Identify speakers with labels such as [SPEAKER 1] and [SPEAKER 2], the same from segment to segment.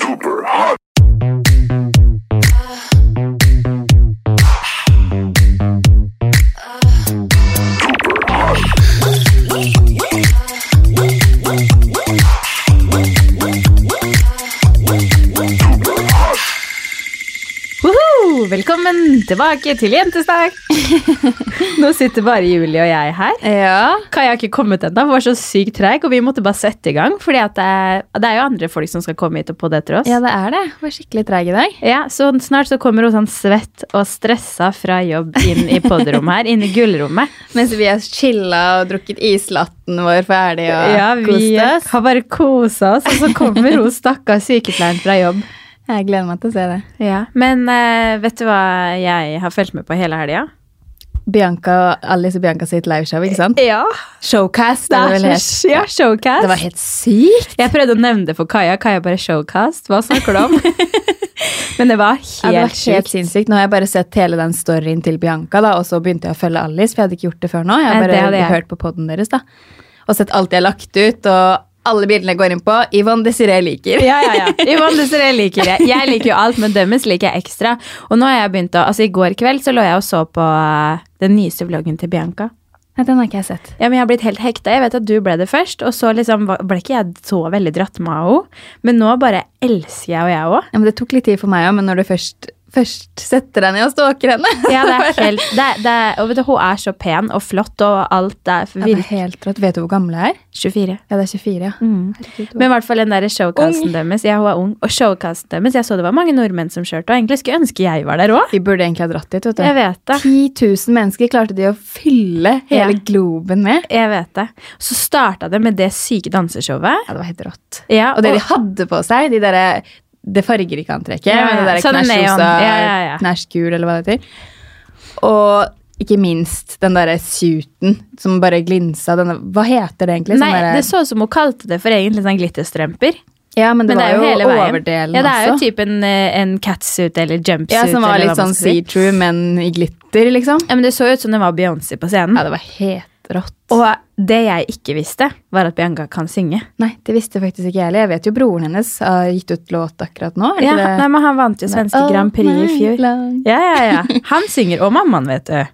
[SPEAKER 1] Super hot. Super hot.
[SPEAKER 2] Woho! Velkommen tilbake til Jentesdag! Nå sitter bare Julie og jeg her.
[SPEAKER 3] Ja.
[SPEAKER 2] Kaja har ikke kommet ennå, hun var så sykt treig, og vi måtte bare sette i gang. For det, er- det er jo andre folk som skal komme hit og podde etter oss.
[SPEAKER 3] det er det. Var skikkelig treig i dag.
[SPEAKER 2] Ja, så snart så kommer hun sånn svett og stressa fra jobb inn i podrommet her, inn i gullrommet.
[SPEAKER 3] Mens vi har chilla og drukket islatten vår ferdig og
[SPEAKER 2] Ja, vi
[SPEAKER 3] kost oss.
[SPEAKER 2] har bare kosa oss, og så kommer hun stakkars sykepleieren fra jobb.
[SPEAKER 3] Jeg gleder meg til å se det.
[SPEAKER 2] Ja, Men eh, vet du hva jeg har fulgt med på hele helga?
[SPEAKER 3] Bianca og Alice og Bianca sitt liveshow, ikke sant?
[SPEAKER 2] Ja,
[SPEAKER 3] Showcast,
[SPEAKER 2] det
[SPEAKER 3] er det vel
[SPEAKER 2] er
[SPEAKER 3] het.
[SPEAKER 2] så, ja, showcast.
[SPEAKER 3] Det var helt sykt.
[SPEAKER 2] Jeg prøvde å nevne det for Kaja. Kaja bare showcast. Hva snakker du om? Men det var
[SPEAKER 3] Ja, det var
[SPEAKER 2] helt
[SPEAKER 3] helt
[SPEAKER 2] sjukt.
[SPEAKER 3] sinnssykt. Nå har jeg bare sett hele den storyen til Bianca, da, og så begynte jeg å følge Alice, for jeg hadde ikke gjort det før nå. Jeg
[SPEAKER 2] Nei,
[SPEAKER 3] har
[SPEAKER 2] det
[SPEAKER 3] bare
[SPEAKER 2] hadde jeg.
[SPEAKER 3] hørt på podden deres, da. Og sett alt jeg har lagt ut, og alle bildene jeg går inn på. Yvonne Desiree liker.
[SPEAKER 2] Ja, ja, ja. Yvonne Desiree liker det. Jeg liker jo alt, men dømmes liker jeg ekstra. Og nå har jeg begynt å, altså I går kveld så lå jeg og så på eh, den nyeste vloggen til Bianca.
[SPEAKER 3] Nei, den har ikke jeg sett.
[SPEAKER 2] Ja, men Jeg har blitt helt hekta. Jeg vet at du ble det først. Og så liksom var- ble ikke jeg så veldig dratt med av henne. Men nå bare elsker jeg og jeg òg.
[SPEAKER 3] Ja, men Det tok litt tid for meg òg, men når du først, først setter deg ned og stalker henne
[SPEAKER 2] Ja, det er helt, det, er- det, er- og vet du, hun er så pen og flott og alt. Det er
[SPEAKER 3] Ja, det er
[SPEAKER 2] virkelig
[SPEAKER 3] helt rått. Vet du hvor gammel jeg er?
[SPEAKER 2] 24.
[SPEAKER 3] Ja, det er 24, ja.
[SPEAKER 2] Mm.
[SPEAKER 3] Herregud,
[SPEAKER 2] Men i hvert fall den der showcasten deres. Ja, hun er ung. Og showcasten deres, jeg så det var mange nordmenn som kjørte, og egentlig skulle jeg ønske jeg var der òg.
[SPEAKER 3] Vi burde egentlig ha dratt dit. vet du.
[SPEAKER 2] Jeg vet det.
[SPEAKER 3] 10 000 mennesker klarte de å fylle hele
[SPEAKER 2] Ja.
[SPEAKER 3] globen med.
[SPEAKER 2] Jeg vet det. Så starta det med det syke danseshowet.
[SPEAKER 3] Ja, Det var helt rått.
[SPEAKER 2] Ja,
[SPEAKER 3] Og det de hadde på seg, de derre det fargerike antrekket
[SPEAKER 2] Ja, ja,
[SPEAKER 3] med det der
[SPEAKER 2] sånn neon.
[SPEAKER 3] knæsjrosa,
[SPEAKER 2] Ja, ja, ja.
[SPEAKER 3] knæsjgul, eller hva det heter. Og ikke minst den derre suiten som bare glinsa. Denne, hva heter det egentlig? Sånn
[SPEAKER 2] Nei,
[SPEAKER 3] derre-
[SPEAKER 2] det så ut som hun kalte det for egentlig sånn glitterstrømper.
[SPEAKER 3] ja, men det,
[SPEAKER 2] Men det er jo hele
[SPEAKER 3] var jo
[SPEAKER 2] veien.
[SPEAKER 3] overdelen
[SPEAKER 2] Ja, det er jo
[SPEAKER 3] også.
[SPEAKER 2] typ en, eh, en catsuit eller jumpsuit.
[SPEAKER 3] Ja, som var
[SPEAKER 2] eller hva
[SPEAKER 3] litt
[SPEAKER 2] man
[SPEAKER 3] sånn
[SPEAKER 2] skal si.
[SPEAKER 3] see-true, men i glitter, liksom.
[SPEAKER 2] Ja, men Det så ut som det var Beyoncé på scenen.
[SPEAKER 3] Ja, det var helt rått.
[SPEAKER 2] Og det jeg ikke visste, var at Bianca kan synge.
[SPEAKER 3] nei, det visste faktisk ikke jeg heller. Jeg vet jo broren hennes har gitt ut låt akkurat nå. er det
[SPEAKER 2] Ja,
[SPEAKER 3] ikke det?
[SPEAKER 2] nei, men Han vant jo svenske
[SPEAKER 3] All
[SPEAKER 2] Grand Prix i
[SPEAKER 3] night
[SPEAKER 2] fjor.
[SPEAKER 3] long.
[SPEAKER 2] Ja, ja, ja. Han synger, og mammaen, vet du.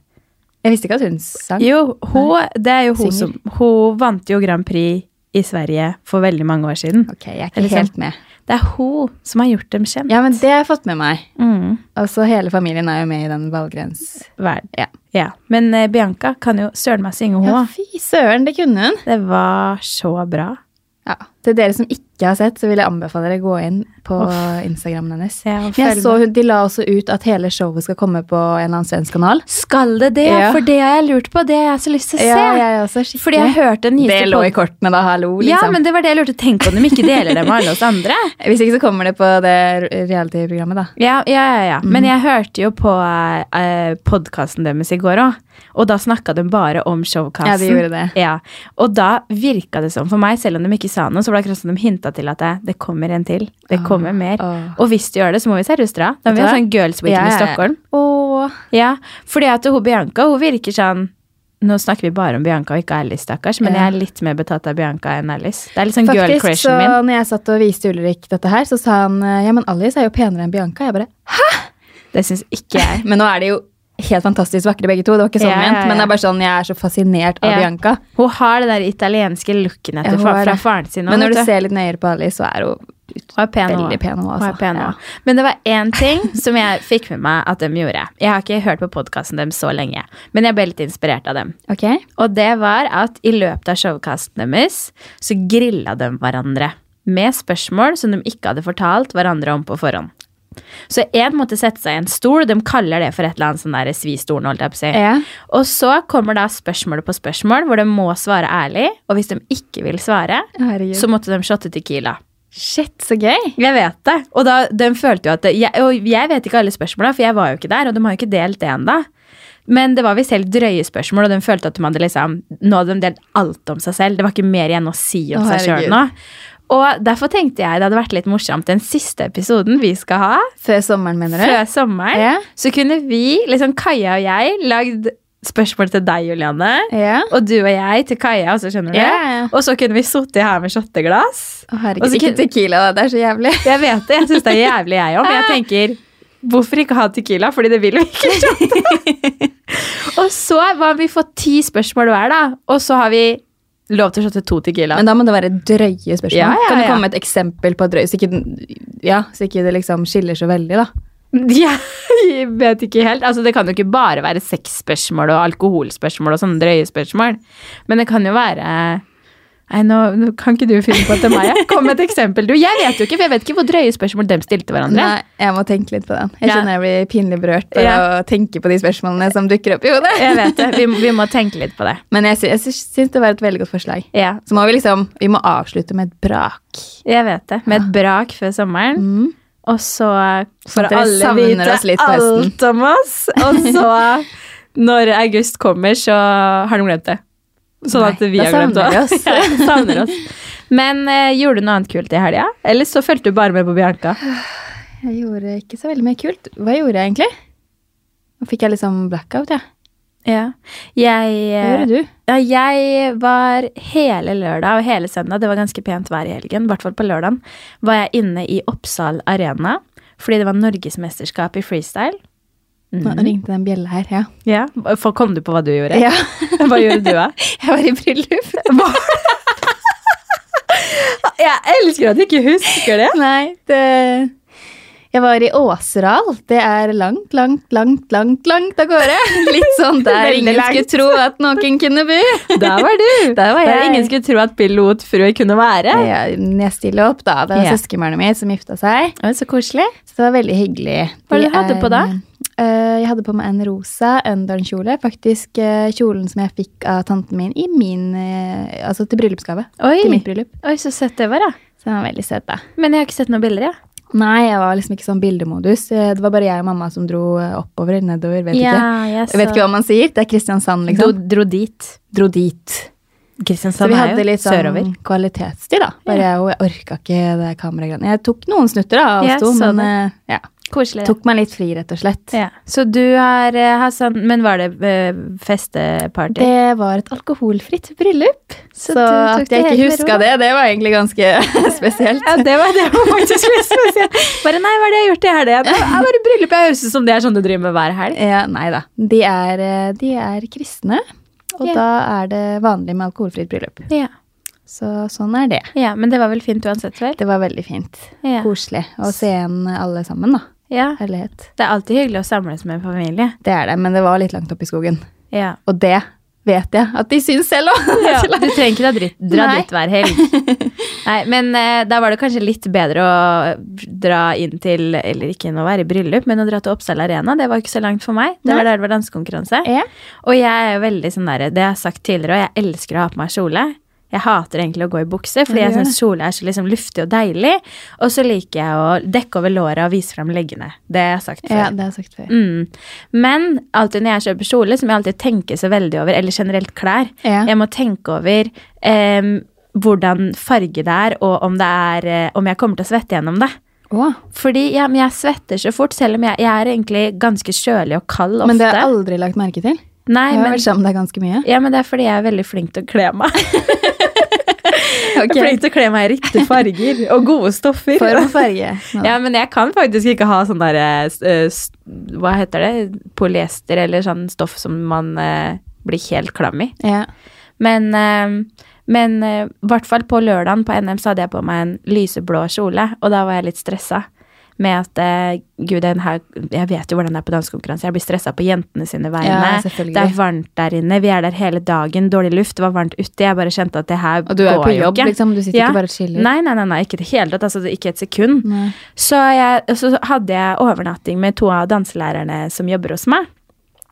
[SPEAKER 3] Jeg visste ikke at hun sang.
[SPEAKER 2] Jo, hun, det er jo hun
[SPEAKER 3] Synger.
[SPEAKER 2] som Hun vant jo Grand Prix i Sverige for veldig mange år siden.
[SPEAKER 3] Ok, jeg er
[SPEAKER 2] Eller
[SPEAKER 3] ikke
[SPEAKER 2] sånn.
[SPEAKER 3] helt med.
[SPEAKER 2] Det er hun som har gjort dem kjent.
[SPEAKER 3] Ja, men det har jeg fått med meg.
[SPEAKER 2] Mm.
[SPEAKER 3] Altså, hele familien er jo med i den valgrens...
[SPEAKER 2] Vær-
[SPEAKER 3] Ja.
[SPEAKER 2] ja. Men eh, Bianca kan jo søren meg synge, hun
[SPEAKER 3] Ja,
[SPEAKER 2] òg.
[SPEAKER 3] fy søren, det kunne hun.
[SPEAKER 2] Det var så bra.
[SPEAKER 3] Ja, Til dere som ikke har sett, så vil jeg anbefale dere å gå inn på Instagramen hennes.
[SPEAKER 2] Ja, og
[SPEAKER 3] Men jeg
[SPEAKER 2] følg
[SPEAKER 3] så, hun- de la også ut at hele showet skal komme på en eller annen svensk kanal.
[SPEAKER 2] Skal det det?
[SPEAKER 3] Ja.
[SPEAKER 2] For det har jeg lurt på. Det har jeg så lyst til å se.
[SPEAKER 3] Ja, jeg også, skikkelig.
[SPEAKER 2] Fordi jeg hørte den nyeste
[SPEAKER 3] Det lå i
[SPEAKER 2] pod-
[SPEAKER 3] kortene, da. Hallo, liksom.
[SPEAKER 2] Ja, men det var det jeg lurte. Tenk om de ikke deler det med alle oss andre.
[SPEAKER 3] Hvis ikke så kommer det på det reality-programmet, da.
[SPEAKER 2] Ja, ja, ja, ja. Men
[SPEAKER 3] Mhm.
[SPEAKER 2] jeg hørte jo på eh, podkasten deres i går òg, og da snakka de bare om showcasten.
[SPEAKER 3] Ja, de gjorde det.
[SPEAKER 2] Ja. Og da virka det som for meg, selv om de ikke sa noe, så var det akkurat som de hinta til at det, det kommer en til. Det kommer mer.
[SPEAKER 3] åh.
[SPEAKER 2] Og hvis du gjør det, så må vi seriøst dra. Da må vi
[SPEAKER 3] Ah. Vet
[SPEAKER 2] ha
[SPEAKER 3] du hva?
[SPEAKER 2] sånn girls weekend i Stockholm.
[SPEAKER 3] Åh.
[SPEAKER 2] Ja, fordi at hun Bianca, hun virker sånn nå snakker vi bare om Bianca og ikke Alice, stakkars, men
[SPEAKER 3] Ja.
[SPEAKER 2] jeg er litt mer betatt av Bianca enn Alice. Det er litt sånn girl
[SPEAKER 3] Faktisk, så
[SPEAKER 2] crushen min.
[SPEAKER 3] når jeg satt og viste Ulrik dette her, så sa han eh, ja, men Alice er jo penere enn Bianca. Jeg bare,
[SPEAKER 2] Det syns ikke jeg.
[SPEAKER 3] Men nå er de jo helt fantastisk vakre begge to. Det var ikke sånn
[SPEAKER 2] Ja, ja,
[SPEAKER 3] ment, men
[SPEAKER 2] ja.
[SPEAKER 3] det er bare sånn, jeg er så fascinert av
[SPEAKER 2] Ja.
[SPEAKER 3] Bianca.
[SPEAKER 2] Hun har det der italienske looken etter
[SPEAKER 3] Ja, hun
[SPEAKER 2] fa-
[SPEAKER 3] er
[SPEAKER 2] fra
[SPEAKER 3] det.
[SPEAKER 2] faren sin. nå,
[SPEAKER 3] Men når du
[SPEAKER 2] vet
[SPEAKER 3] ser litt nøyere på Alice, så er hun ut-
[SPEAKER 2] Hun er pen også.
[SPEAKER 3] veldig pen. Hun,
[SPEAKER 2] Hun er
[SPEAKER 3] altså.
[SPEAKER 2] pen
[SPEAKER 3] Ja.
[SPEAKER 2] også. Men det var én ting som jeg fikk med meg at de gjorde. Jeg har ikke hørt på podkasten deres så lenge, men jeg ble litt inspirert av dem.
[SPEAKER 3] Ok?
[SPEAKER 2] Og det var at i løpet av showcasten deres så grilla de hverandre med spørsmål som de ikke hadde fortalt hverandre om på forhånd. Så én måtte sette seg i en stol, de kaller det for et eller annet sånn der svistolen, holdt jeg på å si.
[SPEAKER 3] Ja.
[SPEAKER 2] Og så kommer da spørsmål på spørsmål hvor de må svare ærlig, og hvis de ikke vil svare,
[SPEAKER 3] Herregud.
[SPEAKER 2] så måtte de shotte tequila.
[SPEAKER 3] Shit, så gøy!
[SPEAKER 2] Jeg vet det. Og da, de følte jo at det, jeg, Og jeg vet ikke alle spørsmåla, for jeg var jo ikke der, og de har jo ikke delt det ennå. Men det var visst helt drøye spørsmål, og de følte at de hadde liksom Nå hadde de delt alt om seg selv. Det var ikke mer igjen å si om
[SPEAKER 3] Å,
[SPEAKER 2] seg sjøl nå.
[SPEAKER 3] herregud.
[SPEAKER 2] Og derfor tenkte jeg det hadde vært litt morsomt den siste episoden vi skal ha
[SPEAKER 3] Før sommeren, mener du?
[SPEAKER 2] før sommeren,
[SPEAKER 3] Ja.
[SPEAKER 2] så kunne vi, liksom Kaja og jeg, lagd spørsmål til deg, Juliane.
[SPEAKER 3] Ja.
[SPEAKER 2] Og du og jeg til Kaja, altså, skjønner du?
[SPEAKER 3] Ja, ja.
[SPEAKER 2] Og så kunne vi sittet her med shotteglass.
[SPEAKER 3] Å, herregud,
[SPEAKER 2] Og så
[SPEAKER 3] ikke
[SPEAKER 2] kun-
[SPEAKER 3] tequila, da. Det er så jævlig.
[SPEAKER 2] Altså, Jeg vet det, jeg syns det er jævlig, jeg òg, men jeg tenker Hvorfor ikke ha tequila? Fordi det vil vi ikke. shotte. og så har vi fått ti spørsmål hver, da. Og så har vi lov til å shotte to tequila.
[SPEAKER 3] Men da må det være drøye spørsmål.
[SPEAKER 2] Ja, ja,
[SPEAKER 3] Kan du
[SPEAKER 2] ja.
[SPEAKER 3] komme med et eksempel på drøy, så ikke, den- ja, så ikke det liksom skiller så veldig, da?
[SPEAKER 2] Jeg vet ikke helt. Altså, det kan jo ikke bare være sexspørsmål og alkoholspørsmål og sånne drøye spørsmål. Men det kan jo være Nei, nå, nå kan ikke du finne på til meg. ja. Kom med et eksempel, du. Jeg vet jo ikke, for jeg vet ikke hvor drøye spørsmål de stilte hverandre.
[SPEAKER 3] Nei, jeg må tenke litt på den. Jeg
[SPEAKER 2] Ja.
[SPEAKER 3] kjenner jeg blir pinlig berørt bare
[SPEAKER 2] Ja.
[SPEAKER 3] å tenke på de spørsmålene som dukker opp i hodet.
[SPEAKER 2] Jeg vet det. Vi, må- vi må tenke litt på det.
[SPEAKER 3] Men jeg, sy jeg sy syns det var et veldig godt forslag.
[SPEAKER 2] Ja,
[SPEAKER 3] Så må vi liksom Vi må avslutte med et brak.
[SPEAKER 2] jeg vet det. Med et brak før sommeren.
[SPEAKER 3] Mm.
[SPEAKER 2] Og så eh,
[SPEAKER 3] Sånn
[SPEAKER 2] får
[SPEAKER 3] at dere
[SPEAKER 2] alle
[SPEAKER 3] savner
[SPEAKER 2] vite
[SPEAKER 3] oss litt på høsten.
[SPEAKER 2] alt om oss. Og så, når august kommer, så har de glemt det. Sånn
[SPEAKER 3] Nei,
[SPEAKER 2] at vi
[SPEAKER 3] da
[SPEAKER 2] har glemt
[SPEAKER 3] savner
[SPEAKER 2] det.
[SPEAKER 3] vi oss.
[SPEAKER 2] ja, savner oss. Men eh, gjorde du noe annet kult i helga? Eller så fulgte du bare med på Bianca?
[SPEAKER 3] Jeg gjorde ikke så veldig mye kult. Hva gjorde jeg egentlig? Nå fikk jeg liksom blackout, jeg.
[SPEAKER 2] Ja. Jeg,
[SPEAKER 3] Hva
[SPEAKER 2] eh,
[SPEAKER 3] gjorde du?
[SPEAKER 2] ja, jeg var hele lørdag og hele søndag, det var ganske pent vær i helgen, i hvert fall på lørdagen, var jeg inne i Oppsal Arena fordi det var norgesmesterskap i freestyle.
[SPEAKER 3] Nå
[SPEAKER 2] Mhm.
[SPEAKER 3] ringte den bjella her, ja.
[SPEAKER 2] Ja, for Kom du på hva du gjorde?
[SPEAKER 3] ja.
[SPEAKER 2] Hva gjorde du, da?
[SPEAKER 3] Jeg var i bryllup.
[SPEAKER 2] Jeg elsker at du ikke husker det.
[SPEAKER 3] Nei, det Jeg var i Åseral. Det er langt, langt, langt, langt, langt av gårde. Litt sånn der
[SPEAKER 2] Veldig
[SPEAKER 3] ingen
[SPEAKER 2] langt.
[SPEAKER 3] skulle tro at noen kunne bo.
[SPEAKER 2] Der var du.
[SPEAKER 3] Der var jeg.
[SPEAKER 2] ingen skulle tro at pilotfrue kunne være.
[SPEAKER 3] Jeg, jeg stiller opp, da. Det var
[SPEAKER 2] Ja.
[SPEAKER 3] søskenbarnet mitt som gifta seg.
[SPEAKER 2] Å, Så koselig.
[SPEAKER 3] Så det var veldig hyggelig.
[SPEAKER 2] Hva
[SPEAKER 3] De
[SPEAKER 2] du hadde
[SPEAKER 3] er-
[SPEAKER 2] på da?
[SPEAKER 3] Eh, jeg hadde på meg en rosa Undern-kjole. Faktisk eh, kjolen som jeg fikk av tanten min i min, eh, altså til bryllupsgave.
[SPEAKER 2] Oi.
[SPEAKER 3] Til mitt bryllup.
[SPEAKER 2] Oi, så søtt det var, da.
[SPEAKER 3] Så den var veldig søt, da.
[SPEAKER 2] Men jeg har ikke sett noen bilder, jeg.
[SPEAKER 3] Nei, jeg var liksom ikke sånn bildemodus. Eh, Det var bare jeg og mamma som dro eh, oppover eller nedover. Vet ikke.
[SPEAKER 2] jeg
[SPEAKER 3] Jeg vet ikke hva man sier. Det er Kristiansand, liksom.
[SPEAKER 2] dro dit.
[SPEAKER 3] dro dit. Så
[SPEAKER 2] Kristiansand
[SPEAKER 3] vi hadde litt sånn
[SPEAKER 2] sørover.
[SPEAKER 3] kvalitetstid, da. Bare jeg, og jeg orka ikke det kameragreiene. Jeg tok noen snutter da,
[SPEAKER 2] Ja,
[SPEAKER 3] av oss to,
[SPEAKER 2] så
[SPEAKER 3] men eh, ja.
[SPEAKER 2] Koselig.
[SPEAKER 3] tok meg litt fri, rett og slett.
[SPEAKER 2] Ja. Så du har eh, hatt sånn Men var det eh, festeparty?
[SPEAKER 3] Det var et alkoholfritt bryllup.
[SPEAKER 2] Så
[SPEAKER 3] Så,
[SPEAKER 2] du tok
[SPEAKER 3] at
[SPEAKER 2] det
[SPEAKER 3] jeg
[SPEAKER 2] helt
[SPEAKER 3] ikke
[SPEAKER 2] med
[SPEAKER 3] huska
[SPEAKER 2] ro, da?
[SPEAKER 3] det, det var egentlig ganske spesielt.
[SPEAKER 2] Ja, det var, det var faktisk litt spesielt. Bare nei, hva er det jeg har gjort i helgen? Det er Bare bryllup. Jeg høres ut som det er sånn du driver med hver helg.
[SPEAKER 3] Ja, nei da. De er, eh, de er kristne, og
[SPEAKER 2] Ja.
[SPEAKER 3] da er det vanlig med alkoholfritt bryllup.
[SPEAKER 2] Ja.
[SPEAKER 3] Så sånn er det.
[SPEAKER 2] ja, Men det var vel fint uansett, vel?
[SPEAKER 3] Det var veldig fint.
[SPEAKER 2] Ja.
[SPEAKER 3] Koselig å se igjen alle sammen, da.
[SPEAKER 2] Ja.
[SPEAKER 3] Herlighet.
[SPEAKER 2] Det er alltid hyggelig å samles med en familie.
[SPEAKER 3] Det er det, men det var litt langt opp i skogen.
[SPEAKER 2] Ja.
[SPEAKER 3] Og det vet jeg at de syns selv òg.
[SPEAKER 2] Du trenger ikke dra dritt, dra
[SPEAKER 3] Nei.
[SPEAKER 2] dritt hver helg. Nei, men eh, da var det kanskje litt bedre å dra inn til Eller ikke å være i bryllup, men å dra til Oppsal Arena. Det var ikke så langt for meg. Det var
[SPEAKER 3] Nei.
[SPEAKER 2] der det var dansekonkurranse.
[SPEAKER 3] Ja.
[SPEAKER 2] Og jeg er jo veldig sånn der, det jeg har sagt tidligere, og jeg elsker å ha på meg kjole. Jeg hater egentlig å gå i bukse, fordi
[SPEAKER 3] Ja,
[SPEAKER 2] jeg
[SPEAKER 3] du gjør
[SPEAKER 2] syns kjole er så liksom luftig og deilig. Og så liker jeg å dekke over låret og vise fram leggene. Det har jeg sagt før.
[SPEAKER 3] ja, det har jeg sagt før.
[SPEAKER 2] Mm. Men alltid når jeg kjøper kjole, som jeg alltid tenker så veldig over, eller generelt klær,
[SPEAKER 3] Ja.
[SPEAKER 2] jeg må tenke over em, hvordan farge det er, og om, det er, eh, om jeg kommer til å svette gjennom det.
[SPEAKER 3] Å,
[SPEAKER 2] Fordi ja, men jeg svetter så fort, selv om jeg, jeg er egentlig ganske kjølig og kald ofte.
[SPEAKER 3] men det har jeg aldri lagt merke til.
[SPEAKER 2] Nei,
[SPEAKER 3] Jeg har
[SPEAKER 2] men,
[SPEAKER 3] vært sammen med deg ganske mye.
[SPEAKER 2] ja, men det er fordi jeg er veldig flink til å kle meg. Jeg er
[SPEAKER 3] Okay.
[SPEAKER 2] flink til å kle meg i riktige farger og gode stoffer.
[SPEAKER 3] Form og farge. Nå.
[SPEAKER 2] Ja, men jeg kan faktisk ikke ha sånn der eh, s- eh, s- Hva heter det? Polyester eller sånn stoff som man eh, blir helt klam i.
[SPEAKER 3] Ja.
[SPEAKER 2] Men eh, men eh, i hvert fall på lørdagen på NM så hadde jeg på meg en lyseblå kjole, og da var jeg litt stressa med at eh, gud, den her, jeg vet jo hvordan det er på dansekonkurranse, jeg blir stressa på jentene sine vegne.
[SPEAKER 3] Ja, selvfølgelig.
[SPEAKER 2] det er varmt der inne, vi er der hele dagen, dårlig luft, det var varmt ute, jeg bare kjente at det her
[SPEAKER 3] Og du er
[SPEAKER 2] går
[SPEAKER 3] på
[SPEAKER 2] jo
[SPEAKER 3] jobb,
[SPEAKER 2] ikke.
[SPEAKER 3] liksom, du sitter ikke bare og chiller.
[SPEAKER 2] Nei, nei, nei, nei ikke i det hele tatt, altså det- ikke et sekund.
[SPEAKER 3] Nei.
[SPEAKER 2] Så, jeg, så hadde jeg overnatting med to av danselærerne som jobber hos meg.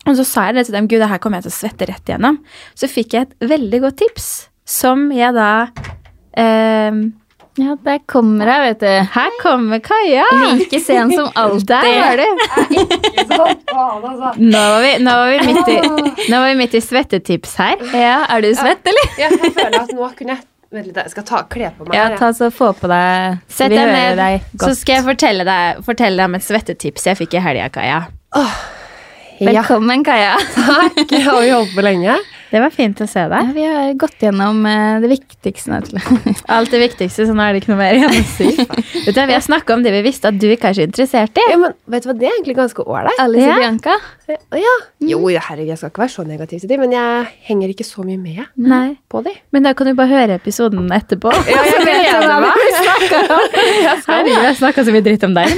[SPEAKER 2] Og så sa jeg det til dem, gud, det her kommer jeg til å svette rett igjennom. Så fikk jeg et veldig godt tips, som jeg da eh,
[SPEAKER 3] Ja, der kommer jeg, vet du.
[SPEAKER 2] Her kommer Kaja!
[SPEAKER 3] Like sen som alltid.
[SPEAKER 2] Der var du!
[SPEAKER 4] Sånn. altså.
[SPEAKER 2] Nå var vi, nå var vi, midt, i, nå var vi midt i svettetips her.
[SPEAKER 3] Ja, er du svett, eller?
[SPEAKER 4] Ja, jeg føler at nå kunne jeg Vent litt, jeg skal ta, kle på meg.
[SPEAKER 3] Ja,
[SPEAKER 4] her, jeg.
[SPEAKER 3] ta så få på deg
[SPEAKER 2] Sett
[SPEAKER 3] Vi
[SPEAKER 2] deg
[SPEAKER 3] hører
[SPEAKER 2] ned,
[SPEAKER 3] deg
[SPEAKER 2] så
[SPEAKER 3] godt.
[SPEAKER 2] skal jeg fortelle deg, fortelle deg om et svettetips jeg fikk i helga, Kaja.
[SPEAKER 3] Velkommen, Kaja.
[SPEAKER 4] Takk. Har vi holdt på lenge?
[SPEAKER 2] Det var fint å se deg.
[SPEAKER 3] Ja, vi har gått gjennom eh, det viktigste. nå, til-
[SPEAKER 2] Alt det viktigste, så nå er det ikke noe mer igjen å si. Vet du, hva, vi har snakka om det vi visste at du ikke er så interessert i.
[SPEAKER 4] Ja, men vet du hva, det er egentlig ganske ålreit.
[SPEAKER 3] Alice
[SPEAKER 2] Ja.
[SPEAKER 3] og Bianca.
[SPEAKER 4] Ja. Jo, herregud, jeg skal ikke være så negativ til de, men jeg henger ikke så mye med
[SPEAKER 2] Nei.
[SPEAKER 4] på de.
[SPEAKER 2] Men da kan du bare høre episoden etterpå.
[SPEAKER 4] Ja, jeg vet det, hva
[SPEAKER 2] vi snakker om. Herregud, jeg snakka så mye dritt om deg.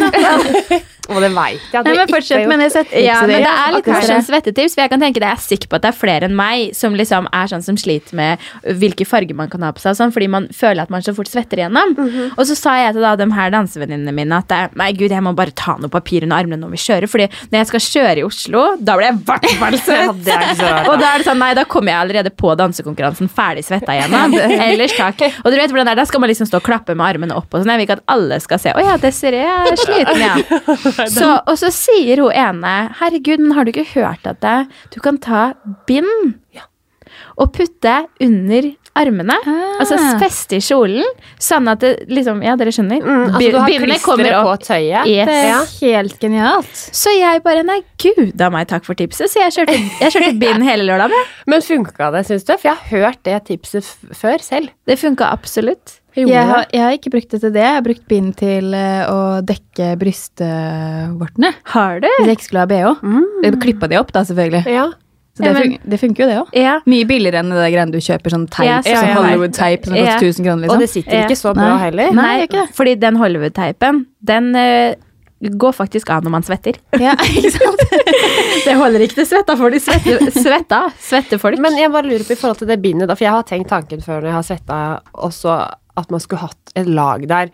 [SPEAKER 4] Og det veit jeg.
[SPEAKER 3] Nei, men fortsett med det settet.
[SPEAKER 2] Ja, men det er litt sånn
[SPEAKER 3] akkurat
[SPEAKER 2] kanskje en
[SPEAKER 3] det.
[SPEAKER 2] svettetips, for jeg kan tenke det jeg er sikker på at det er flere enn meg som liksom er sånn som sliter med hvilke farger man kan ha på seg, og sånn, fordi man føler at man så fort svetter igjennom.
[SPEAKER 4] Mhm.
[SPEAKER 2] Og så sa jeg til da de her dansevenninnene mine at det, nei, gud, jeg må bare ta noe papir under armene når vi kjører, fordi når jeg skal kjøre i Oslo, da blir jeg i hvert fall svett.
[SPEAKER 4] det er ikke så rart, da.
[SPEAKER 2] og da er det sånn, nei, da kommer jeg allerede på dansekonkurransen ferdig svetta igjennom. Ellers takk. Og du vet hvordan det er, da skal man liksom stå og klappe med armene opp og sånn. Jeg vil ikke at alle skal se. Å ja, Desiree er sliten, ja. Så, og så sier hun ene Herregud, men har du ikke hørt at det, du kan ta bind og putte under armene?
[SPEAKER 3] Ah.
[SPEAKER 2] Altså feste i kjolen, sånn at det liksom Ja, dere skjønner?
[SPEAKER 3] Mm,
[SPEAKER 4] Altså,
[SPEAKER 2] Bi-
[SPEAKER 4] du har
[SPEAKER 2] Bindene kommer
[SPEAKER 4] klisteret på
[SPEAKER 2] opp.
[SPEAKER 4] tøyet.
[SPEAKER 2] Yes.
[SPEAKER 3] Det er helt genialt.
[SPEAKER 2] Så jeg bare Nei, gud a meg, takk for tipset. Så jeg kjørte, jeg kjørte bind hele lørdagen. jeg.
[SPEAKER 4] Men funka det, syns du? For jeg har hørt det tipset f før selv.
[SPEAKER 2] Det funka absolutt.
[SPEAKER 3] Jeg har, jeg har ikke brukt det til det. Jeg har brukt bind til eh, å dekke brystvortene.
[SPEAKER 2] Har du?
[SPEAKER 3] Hvis jeg ikke skulle ha bh. Mm. Klippa de opp, da, selvfølgelig.
[SPEAKER 4] Ja.
[SPEAKER 3] Så det,
[SPEAKER 2] Ja, men-
[SPEAKER 3] fun det funker jo, det òg.
[SPEAKER 2] Ja.
[SPEAKER 3] Mye billigere enn det der greiene du kjøper sånn teip,
[SPEAKER 2] Ja,
[SPEAKER 4] ja,
[SPEAKER 3] sånn
[SPEAKER 4] ja.
[SPEAKER 3] Hollywood-teip som
[SPEAKER 2] Ja.
[SPEAKER 3] koster 1000 kroner,
[SPEAKER 4] Og
[SPEAKER 3] liksom.
[SPEAKER 4] det sitter ikke så bra
[SPEAKER 3] Nei.
[SPEAKER 4] heller.
[SPEAKER 3] Nei, det gjør ikke det.
[SPEAKER 2] fordi den Hollywood-teipen, den eh, går faktisk av når man svetter.
[SPEAKER 3] Ja, ikke sant?
[SPEAKER 2] Det holder ikke til svetta, for de svette, svetta, svettefolk.
[SPEAKER 4] Men jeg bare lurer på i forhold til det bindet, da, for jeg har tenkt tanken før når jeg har svetta også at man skulle hatt et lag der.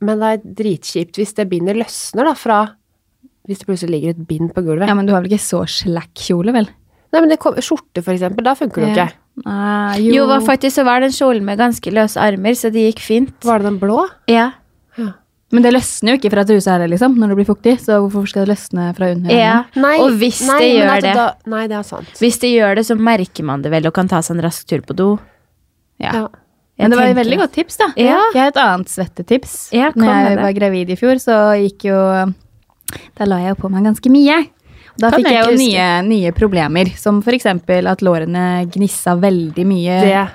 [SPEAKER 4] Men det er dritkjipt hvis det bindet løsner da fra Hvis det plutselig ligger et bind på gulvet.
[SPEAKER 3] Ja, men du har vel ikke så slack kjole, vel?
[SPEAKER 4] Nei, men det kom, skjorte, for eksempel, da funker det jo
[SPEAKER 3] Ja.
[SPEAKER 4] ikke.
[SPEAKER 3] Nei,
[SPEAKER 2] Jo, hva- faktisk så var den kjolen med ganske løse armer, så det gikk fint.
[SPEAKER 4] Var det den blå?
[SPEAKER 2] Ja.
[SPEAKER 3] Men det løsner jo ikke fra trusa heller, liksom, når det blir fuktig. Så hvorfor skal det løsne fra under?
[SPEAKER 2] ja. og hvis
[SPEAKER 4] nei,
[SPEAKER 2] det
[SPEAKER 4] men
[SPEAKER 2] gjør
[SPEAKER 3] altså
[SPEAKER 4] at
[SPEAKER 2] det,
[SPEAKER 4] Da, nei, det er sant.
[SPEAKER 2] hvis det gjør det, så merker man det vel og kan ta seg en rask tur på do.
[SPEAKER 3] Ja.
[SPEAKER 4] Ja.
[SPEAKER 3] Men det var
[SPEAKER 2] Jeg
[SPEAKER 3] et veldig
[SPEAKER 2] tenker-
[SPEAKER 3] godt tips, da.
[SPEAKER 2] Ja.
[SPEAKER 3] Jeg har et annet svettetips.
[SPEAKER 2] Ja, kom
[SPEAKER 3] Når
[SPEAKER 2] med
[SPEAKER 3] jeg
[SPEAKER 2] det.
[SPEAKER 3] var gravid i fjor, så gikk jo Da la jeg jo på meg ganske mye. Da
[SPEAKER 2] Kan
[SPEAKER 3] fikk
[SPEAKER 2] jeg
[SPEAKER 3] jeg
[SPEAKER 2] ikke
[SPEAKER 3] jo
[SPEAKER 2] huske.
[SPEAKER 3] nye, nye problemer, som f.eks. at lårene gnissa veldig mye Eh,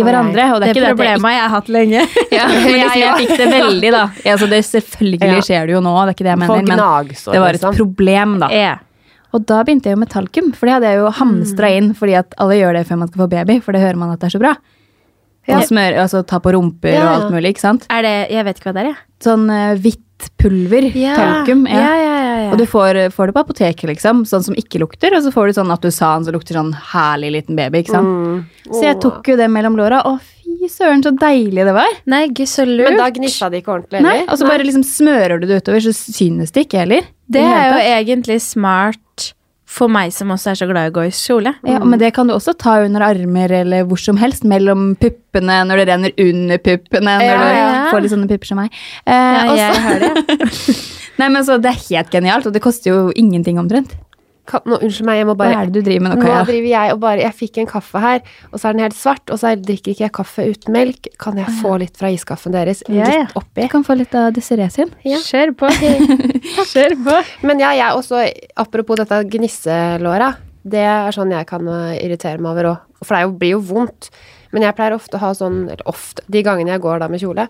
[SPEAKER 3] i hverandre. Og det er
[SPEAKER 2] Det
[SPEAKER 3] ikke det at jeg
[SPEAKER 2] problemet har jeg hatt lenge.
[SPEAKER 3] ikke- ja, men liksom, jeg fikk det veldig, da. Ja, Altså, det selvfølgelig
[SPEAKER 4] Ja.
[SPEAKER 3] skjer det jo nå, det er ikke det jeg
[SPEAKER 4] Folk
[SPEAKER 3] mener, men
[SPEAKER 4] gnagsår,
[SPEAKER 3] det var
[SPEAKER 4] liksom.
[SPEAKER 3] et problem, da.
[SPEAKER 2] Ja.
[SPEAKER 3] Og da begynte jeg jo med talkum, for det hadde jeg jo hamstra inn fordi at alle gjør det før man skal få baby, for det hører man at det er så bra.
[SPEAKER 4] Ja.
[SPEAKER 3] Og smør, altså ta på rumper
[SPEAKER 4] Ja,
[SPEAKER 3] og
[SPEAKER 4] ja.
[SPEAKER 3] alt mulig, ikke sant.
[SPEAKER 2] Er det Jeg vet ikke hva det er, jeg.
[SPEAKER 3] Sånn eh, hvitt pulver, talkum.
[SPEAKER 2] Ja, ja, ja, ja.
[SPEAKER 3] Og du får, får det på apoteket, liksom, sånn som ikke lukter, og så får du sånn Atusan som lukter sånn herlig liten baby, ikke sant. Så jeg tok jo det mellom låra, å fy søren, så deilig det var.
[SPEAKER 2] Nei, gud, så lurt.
[SPEAKER 4] Men da gnissa det ikke ordentlig
[SPEAKER 3] Nei, og så bare liksom smører du det utover, så synes det ikke heller.
[SPEAKER 2] det
[SPEAKER 3] I
[SPEAKER 2] er
[SPEAKER 3] hele
[SPEAKER 2] jo
[SPEAKER 3] tatt.
[SPEAKER 2] egentlig smart for meg som også er så glad i å gå i kjole.
[SPEAKER 3] Ja, men det kan du også ta under armer eller hvor som helst, mellom puppene, når det renner under puppene, når
[SPEAKER 2] Ja, ja.
[SPEAKER 3] du får litt sånne pupper som meg. Eh,
[SPEAKER 2] Ja,
[SPEAKER 3] og
[SPEAKER 2] jeg
[SPEAKER 3] så-
[SPEAKER 2] har det.
[SPEAKER 3] Nei, men så Det er helt genialt, og det koster jo ingenting omtrent.
[SPEAKER 4] Kan, nå, unnskyld meg, jeg må
[SPEAKER 3] Hva er
[SPEAKER 4] bare
[SPEAKER 3] det du driver med nå,
[SPEAKER 4] Nå
[SPEAKER 3] Kaja?
[SPEAKER 4] driver jeg og bare Jeg fikk en kaffe her, og så er den helt svart, og så er- drikker ikke jeg kaffe uten melk. Kan jeg få litt fra iskaffen deres?
[SPEAKER 2] Ja, ja.
[SPEAKER 4] Litt oppi?
[SPEAKER 3] Du kan få litt av Desiree sin.
[SPEAKER 2] Kjør på. Kjør på.
[SPEAKER 4] Men ja, jeg også, apropos dette gnisselåra, det er sånn jeg kan eh, irritere meg over òg. For det er jo, blir jo vondt. Men jeg pleier ofte å ha sånn, eller ofte, de gangene jeg går da med kjole,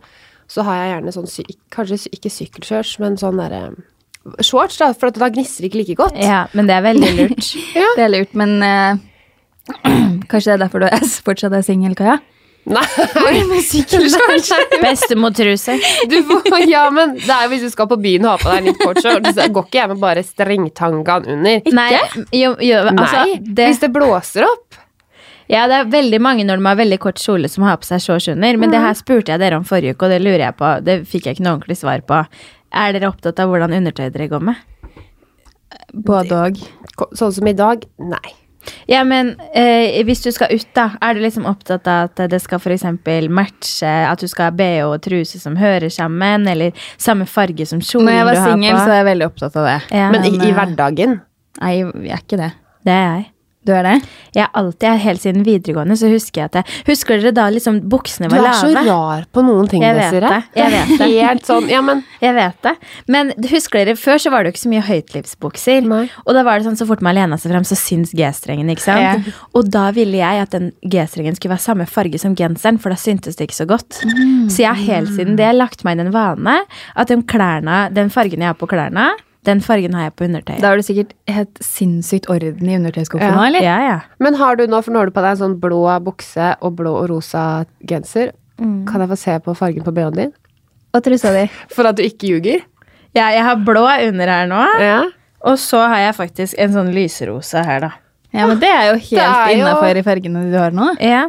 [SPEAKER 4] så har jeg gjerne sånn, sy- kanskje sy- ikke sykkelshorts, men sånn derre Shorts, da, for at da gnisser det ikke like godt.
[SPEAKER 2] Ja, men det er veldig lurt.
[SPEAKER 3] Det er lurt, men eh, kanskje det er derfor du er, fortsatt er singel, Kaja?
[SPEAKER 4] Nei,
[SPEAKER 3] Med
[SPEAKER 4] sykkelshorts!
[SPEAKER 2] Bestemortruse.
[SPEAKER 4] Du får, ja, men det er jo hvis du skal på byen og ha på deg en litt kort shorts, så går ikke jeg med bare strengtangaen under.
[SPEAKER 2] Nei, jo, jo, altså,
[SPEAKER 4] Nei,
[SPEAKER 2] det,
[SPEAKER 4] hvis det blåser opp.
[SPEAKER 2] ja, det er veldig mange når de har veldig kort kjole som har på seg shorts under, men det her spurte jeg dere om forrige uke, og det lurer jeg på, det fikk jeg ikke noe ordentlig svar på. Er dere opptatt av hvordan undertøy dere går med?
[SPEAKER 3] Både og.
[SPEAKER 4] Ko- Sånn som i dag, nei.
[SPEAKER 2] Ja, men eh, hvis du skal ut da, er du liksom opptatt av at det skal for eksempel matche, at du skal ha BH og truse som hører sammen, eller samme farge som kjolen
[SPEAKER 3] Når jeg
[SPEAKER 2] du
[SPEAKER 3] var
[SPEAKER 2] har på?
[SPEAKER 3] singel, så er jeg veldig opptatt av det.
[SPEAKER 2] Ja,
[SPEAKER 4] Men i,
[SPEAKER 3] men,
[SPEAKER 4] i
[SPEAKER 3] eh,
[SPEAKER 4] hverdagen
[SPEAKER 3] Nei, jeg er ikke det.
[SPEAKER 2] det er jeg.
[SPEAKER 3] Du er det?
[SPEAKER 2] Jeg har alltid, helt siden videregående, så husker jeg at jeg Husker dere da liksom buksene
[SPEAKER 4] Du
[SPEAKER 2] var
[SPEAKER 4] er
[SPEAKER 2] lave?
[SPEAKER 4] så rar på noen ting,
[SPEAKER 2] Jeg vet
[SPEAKER 4] Desiree.
[SPEAKER 2] det, jeg vet det.
[SPEAKER 4] Helt sånn, ja, men
[SPEAKER 2] Jeg vet det. Men husker dere, før så var det jo ikke så mye høytlivsbukser.
[SPEAKER 4] Nei.
[SPEAKER 2] Og da var det sånn, så fort man lena seg fram, så syns G-strengen, ikke sant? Og da ville jeg at den G-strengen skulle være samme farge som genseren, for da syntes det ikke så godt. Så jeg har helt siden det lagt meg inn en vane at den, klærne, den fargen jeg har på klærne, den fargen har jeg på undertøyet.
[SPEAKER 3] Da har du sikkert helt sinnssykt orden i undertøyskuffen
[SPEAKER 4] Ja.
[SPEAKER 3] nå, eller?
[SPEAKER 2] Ja, ja.
[SPEAKER 4] Men har du nå, for nå har du på deg en sånn blå bukse og blå og rosa genser.
[SPEAKER 2] Mm.
[SPEAKER 4] Kan jeg få se på fargen på bh-en din?
[SPEAKER 3] Og trusa di.
[SPEAKER 4] For at du ikke ljuger?
[SPEAKER 2] ja. Jeg har blå under her nå,
[SPEAKER 4] Ja.
[SPEAKER 2] og så har jeg faktisk en sånn lyserosa her, da.
[SPEAKER 3] Ja, men det er jo helt
[SPEAKER 4] er jo-
[SPEAKER 3] innafor i fargene du har nå.
[SPEAKER 2] Ja.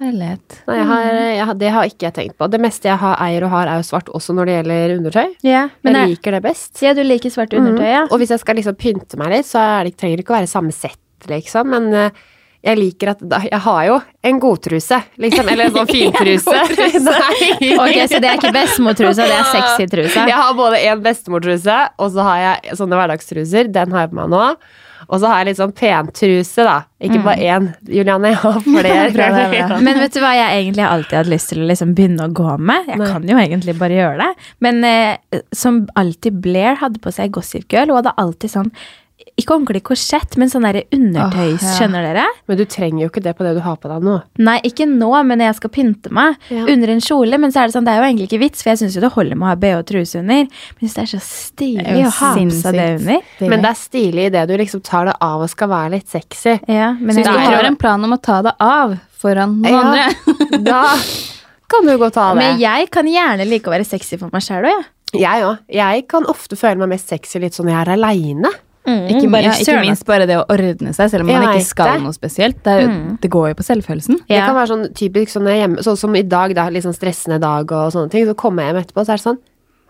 [SPEAKER 3] Herlighet.
[SPEAKER 4] Nei, jeg har,
[SPEAKER 2] Mm.
[SPEAKER 4] jeg har, det har ikke jeg tenkt på. Det meste jeg har, eier og har, er jo svart, også når det gjelder undertøy.
[SPEAKER 2] ja. Men jeg,
[SPEAKER 4] jeg
[SPEAKER 2] Mm.
[SPEAKER 4] liker det best.
[SPEAKER 2] sier du liker svart undertøy, ja?
[SPEAKER 4] Og hvis jeg skal liksom pynte meg litt, så er det, trenger det ikke å være samme sett, liksom. Men eh, jeg liker at da, Jeg har jo en godtruse, liksom. Eller en sånn fintruse. Nei.
[SPEAKER 2] Ok, så det er ikke bestemortrusa, det er sexytrusa.
[SPEAKER 4] Jeg har både en bestemortruse, og så har jeg sånne hverdagstruser. Den har jeg på meg nå. Og så har jeg litt sånn pentruse, da. Ikke bare én, Juliane. Jeg har
[SPEAKER 3] Bra, det er
[SPEAKER 4] flere.
[SPEAKER 3] bra.
[SPEAKER 2] Men vet du hva jeg egentlig alltid hadde lyst til å liksom begynne å gå med? Jeg kan jo egentlig bare gjøre det. Men eh, som alltid Blair hadde på seg Gossip Girl, hun hadde alltid sånn ikke ordentlig korsett, men sånn derre undertøys,
[SPEAKER 3] Åh, ja.
[SPEAKER 2] skjønner dere?
[SPEAKER 4] Men du trenger jo ikke det på det du har på deg nå.
[SPEAKER 2] Nei, ikke nå, men jeg skal pynte meg
[SPEAKER 4] Ja.
[SPEAKER 2] under en kjole. Men så er det sånn, det er jo egentlig ikke vits, for jeg syns jo det holder med å ha bh og truse under. Men jeg synes det er så
[SPEAKER 3] Det er
[SPEAKER 2] stilig
[SPEAKER 3] jo
[SPEAKER 2] å ha på
[SPEAKER 3] sinnssykt.
[SPEAKER 2] seg det under.
[SPEAKER 4] Men det er stilig i det du liksom tar det av og skal være litt sexy.
[SPEAKER 2] Ja, men
[SPEAKER 3] Hvis
[SPEAKER 2] jeg
[SPEAKER 3] du
[SPEAKER 4] Nei.
[SPEAKER 3] har en plan om å ta det av foran noen
[SPEAKER 4] Ja,
[SPEAKER 3] andre
[SPEAKER 4] da kan du godt ta det.
[SPEAKER 2] Men jeg kan gjerne like å være sexy for meg sjæl òg, jeg.
[SPEAKER 4] Jeg òg. Jeg kan ofte føle meg mest sexy litt sånn når jeg er aleine.
[SPEAKER 3] ikke,
[SPEAKER 2] Mm, bare
[SPEAKER 3] ja, ikke
[SPEAKER 2] søren.
[SPEAKER 3] minst bare det å ordne seg, selv om man
[SPEAKER 4] Jeg
[SPEAKER 3] ikke
[SPEAKER 4] vet
[SPEAKER 3] skal
[SPEAKER 4] det.
[SPEAKER 3] noe spesielt. Det, er, jo- det går jo på selvfølelsen.
[SPEAKER 4] Det kan være sånn typisk sånn når jeg er hjemme, sånn som i dag, da, litt sånn stressende dag og sånne ting. Så kommer jeg hjem etterpå, så er det sånn